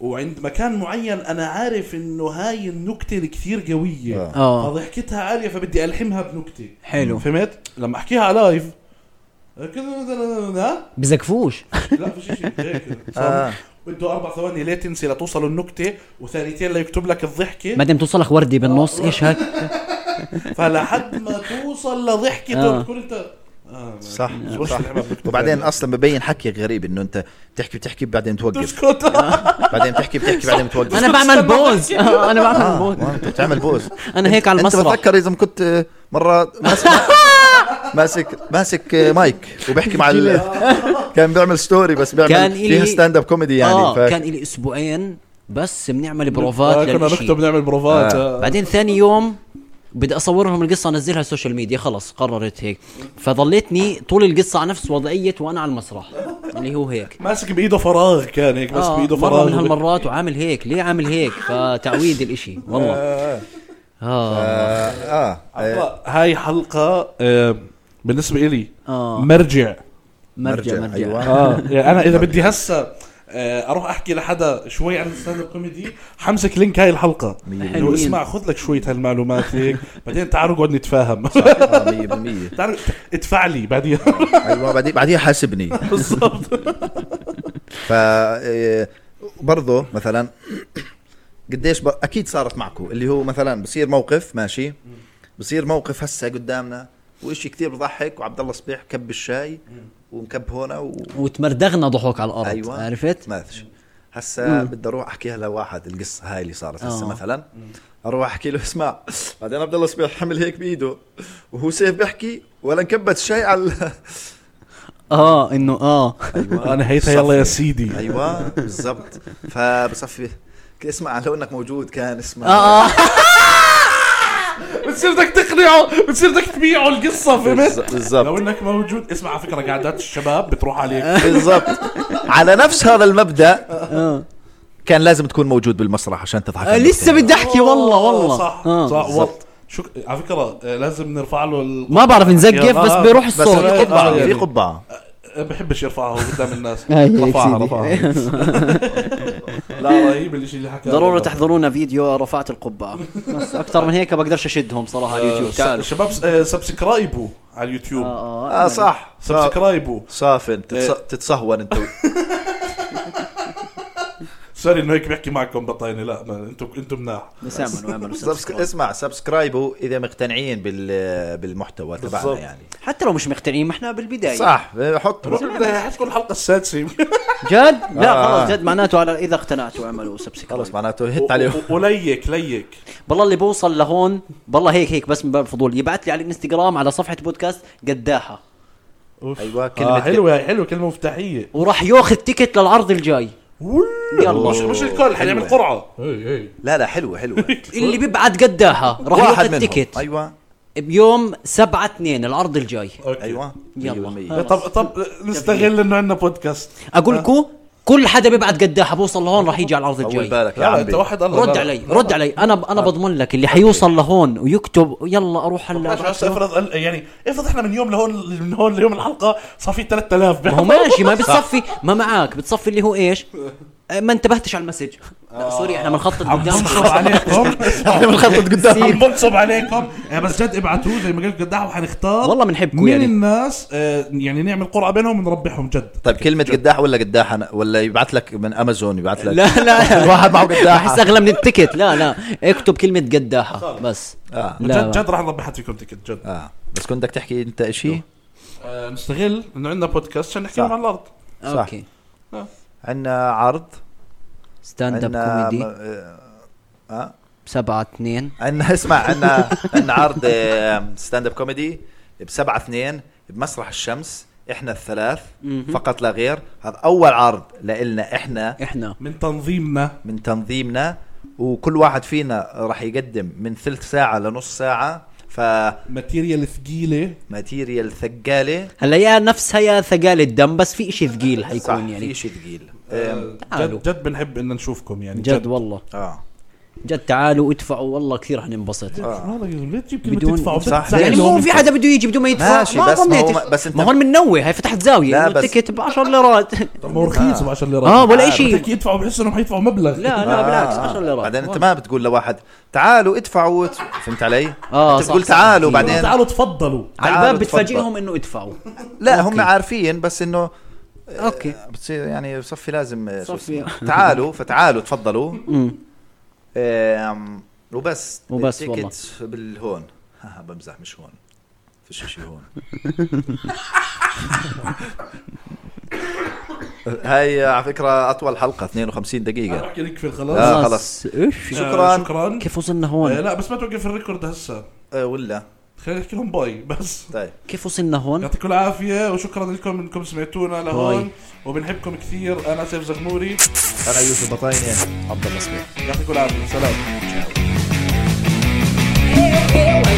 C: وعند مكان معين انا عارف انه هاي النكته الكثير قويه
A: آه.
C: فضحكتها عاليه فبدي الحمها بنكته
A: حلو.
C: فهمت لما احكيها على لايف كذا مثلا ها
A: بزقفوش
C: لا فيش شيء
B: [laughs]
C: هيك
B: آه.
C: بده اربع ثواني ليتنسي لتوصل النكته وثانيتين ليكتب لك الضحكه
A: ما دام توصلك وردي بالنص ايش هاك
C: فلحد ما توصل لضحكته
A: آه.
C: بتكون انت آه،
B: صح.
C: مش الحمى بنكتة.
B: وبعدين اصلا ببين حكيك غريب انه انت بتحكي بتحكي بعدين توقف
C: تسكت
B: [laughs] بعدين بتحكي بتحكي
A: [laughs]
B: بعدين بتوقف
A: انا بعمل بوز انا بعمل
B: آه،
A: بوز
B: ما أنت بتعمل
A: [laughs]
B: بوز
A: انا هيك على
B: انت
A: المسرح
B: بتذكر اذا كنت آه، مره ماسك
A: [laughs]
B: ماسك ماسك آه، مايك وبحكي مع ال...
A: [laughs]
B: كان بيعمل ستوري بس بيعمل
A: كان إلي-
B: فيها ستاند اب كوميدي يعني
A: اه
B: ف-
A: كان لي اسبوعين بس بنعمل
C: آه،
A: بروفات
C: كنا نكتب
A: للشيء
C: نعمل بروفات
B: آه.
C: آه.
A: بعدين ثاني يوم بدي اصور لهم القصه انزلها على السوشيال ميديا خلص قررت هيك فضليتني طول القصه على نفس وضعيه وانا على المسرح اللي هو هيك
C: ماسك بايده فراغ كان هيك بس
A: آه
C: بايده
A: مرة
C: فراغ
A: من هالمرات وعامل هيك ليه عامل هيك فتعويد الاشي والله اه
B: اه آه.
C: عطاء، هاي حلقه آه، بالنسبه إلي
A: آه.
C: مرجع
A: مرجع
B: مرجع،
A: مرجع [laughs]
B: أيوة.
C: اه يعني انا اذا بدي هسه آه، اروح احكي لحدا شوي عن الستاند اب كوميدي حمسك لينك هاي الحلقه
A: حلوين.
C: لو اسمع خذ لك شويه هالمعلومات
A: [laughs]
C: هيك بعدين تعال نقعد نتفاهم [laughs]
B: آه، 100%
C: تعال ادفع
A: [laughs]
C: لي بعدين [laughs]
B: ايوه بعدين بعدين حاسبني
C: بالضبط
B: [laughs] ف إيه، برضه مثلا قديش ب... اكيد صارت معكم اللي هو مثلا بصير موقف ماشي بصير موقف هسه قدامنا وإشي كثير بضحك وعبد الله صبيح كب الشاي ونكب هنا و...
A: وتمردغنا ضحوك على الارض
B: أيوة.
A: عرفت
B: ماشي هسه بدي اروح احكيها لواحد القصه هاي اللي صارت هسه
A: آه.
B: مثلا اروح احكي له اسمع بعدين عبد الله صبيح حمل هيك بايده وهو سيف بيحكي ولا انكبت الشاي على
A: اه انه اه
B: ايوه
C: انا هيتها يلا يا سيدي
B: ايوه بالضبط فبصفي اسمع لو انك موجود كان اسمع
A: اه آه.
C: بتصير بدك تقنعه بتصير بدك تبيعه القصه فهمت
B: بالز-
C: لو
B: بالضبط
C: انك موجود اسمع على فكره قعدات الشباب بتروح عليك
B: بالضبط على نفس هذا المبدا كان لازم تكون موجود بالمسرح عشان تضحك
A: آه، لسه بدي احكي والله والله
C: صح
A: آه.
C: صح والله شو على فكره آه، لازم نرفع له ال...
A: ما بعرف نزقف
C: آه،
A: بس
C: آه.
A: بيروح
B: بس
A: الصوت
B: في
C: آه،
B: قبعه
C: يعني.
B: في قبعه
C: آه، بحبش يرفعها هو قدام
A: [laughs]
C: الناس
A: هاي هيك
C: رفعها
A: سيدي. [laughs]
C: رفعها لا رهيب الشيء اللي آه، حكاه
A: ضرورة تحضرونا فيديو رفعت القبعة بس أكثر من هيك بقدرش أشدهم صراحة
C: آه،
A: على اليوتيوب تعالوا
C: شباب س- آه، سبسكرايبوا على اليوتيوب
A: آه
B: اه صح صا-
C: سبسكرايبوا
B: صافن تتص-
C: إيه.
B: تتصهون انت
C: سوري انه هيك بحكي معكم بطينه لا ما انتم انتم مناح
A: بس اعملوا اعملوا
B: سبسك...
A: سبسكرايب.
B: اسمع سبسكرايبوا اذا مقتنعين بال... بالمحتوى
C: بالضبط.
B: تبعنا يعني
A: حتى لو مش مقتنعين ما احنا بالبداية
B: صح حط
C: [laughs] حتكون
A: [laughs]
C: الحلقه السادسه
A: جد؟ لا
B: آه.
A: خلاص جد معناته على إذا اقتنعتوا اعملوا
B: خلص
A: سبسكرايب
B: معناته هت عليه
C: و- وليك ليك
A: بالله اللي بوصل لهون بالله هيك هيك بس من باب الفضول يبعث لي على الانستغرام على صفحة بودكاست قداحة
B: ايوه
C: كلمة آه
B: كلمه
C: حلوه هاي حلوه كلمه مفتاحيه
A: وراح ياخذ تيكت للعرض الجاي يلا.
C: يلا مش مش الكل حنعمل قرعه
B: لا لا
A: [laughs]
B: حلوه حلوه
A: اللي بيبعت قداحة راح
B: واحد
A: ياخذ
B: منهم
A: تيكت
B: ايوه
A: بيوم 7 2 العرض الجاي
C: اوكي
B: ايوه
A: يلا.
B: 100%.
A: آه.
C: طب طب نستغل انه عندنا بودكاست
A: اقول لكم كل حدا بيبعت قداحة بوصل لهون راح يجي على العرض
B: طول
A: الجاي
B: بالك يا
C: لا انت
B: عمي
C: واحد الله
A: رد علي رد علي انا انا بضمن لك اللي حيوصل لهون ويكتب يلا اروح هلا
C: بس افرض ال- يعني افرض احنا من يوم لهون من هون ليوم الحلقه صار في 3000
A: ما هو ماشي
C: [laughs]
A: ما بتصفي ما معك بتصفي اللي هو ايش آه، ما انتبهتش على المسج لا سوري احنا بنخطط
C: آه. عم
A: قدام
C: بنصب
B: [laughs]
C: عليكم
B: احنا بنخطط
C: عم
B: قدام
C: بنصب عليكم آه، بس جد ابعتوا زي ما قلت قداح وحنختار
A: والله بنحبكم
C: من يعني.
A: يعني
C: الناس آه، يعني نعمل قرعه بينهم ونربحهم جد
B: طيب كلمة قداح ولا قداح أنا- ولا يبعث لك من امازون يبعث لك
A: لا
B: [laughs]
A: لا
B: الواحد معه
A: احس
B: قداح
A: اغلى من التيكت لا لا اكتب كلمه قداحه بس
B: آه.
A: لا
C: جد جد راح نربح فيكم تيكت جد
B: اه بس كنت بدك تحكي انت شيء
C: آه، نستغل انه عندنا بودكاست عشان نحكي
B: صح.
C: عن آه. الارض
B: صح.
A: اوكي
B: عندنا عرض
A: ستاند اب
B: عندنا
A: كوميدي 7 2
B: عندنا [laughs] اسمع عندنا عندنا عرض ستاند اب كوميدي ب 7 2 بمسرح الشمس احنا الثلاث فقط لا غير هذا اول عرض لنا احنا
A: احنا
C: من تنظيمنا
B: من تنظيمنا وكل واحد فينا راح يقدم من ثلث ساعة لنص ساعة
C: ماتيريال ثقيله
B: فماتيريال ثقالة
A: هلا يا نفسها يا ثقال الدم بس في اشي ثقيل
B: صح
A: حيكون
B: في
A: يعني
B: شيء ثقيل
C: آه،
A: تعالوا.
C: جد جد بنحب ان نشوفكم يعني
A: جد والله
B: اه
A: جد تعالوا ادفعوا والله كثير حننبسط
C: آه، والله ليه تجيب
A: بدون-
C: كلمه تدفع
B: صح،
C: وبتزعل
A: يعني
B: ليش؟
A: مو
C: لهم
A: في حدا بده يجي بده ما يدفع
B: ماشي،
A: ما
B: بس ما هو-
A: ظنيتش.
B: بس أنت-
A: ما هون منوه هي فتحت زاويه
B: لا،
A: لا
B: بس-
A: بس التيكت ب 10 ليرات [laughs]
C: طب ما هو رخيص ب 10 ليرات
A: اه ولا أي
C: شيء
A: شيء.
C: يدفعوا بحسوا انهم حيدفعوا مبلغ
A: لا لا بالعكس 10 ليرات
B: آه. بعدين انت ما بتقول لواحد تعالوا ادفعوا فهمت علي؟
A: آه،
B: انت
A: صح،
B: بتقول
A: صح،
B: تعالوا
A: كثير.
B: بعدين
C: تعالوا تفضلوا
A: على
B: تعالوا
A: الباب
B: تفضل.
A: بتفاجئهم انه ادفعوا
B: لا هم عارفين بس انه آه،
A: اوكي
B: بتصير يعني بصفي لازم آه، شو
A: صفي.
B: اسمه. تعالوا فتعالوا تفضلوا آم، وبس
A: وبس
B: التيكت بالهون ها بمزح مش هون فيش شيء
A: [laughs]
B: هون هاي على فكره اطول حلقه 52
C: انا
B: دقيقه
C: بحكي لك في
B: آه.
C: خلاص
B: خلص.
A: ايش
C: آه،
B: شكراً.
C: شكرا
A: كيف وصلنا
C: آه،
A: هون
C: لا بس ما توقف الريكورد هسه
B: أه ولا
C: خلينا نحكي لهم باي بس
B: طيب
A: كيف وصلنا هون
C: يعطيكم العافية وشكرا لكم انكم سمعتونا لهون وبنحبكم كثير انا سيف زغموري
B: انا يوسف А بطاينه عبد الله صبيح
C: يعطيكم العافية سلام
E: Hey, hey,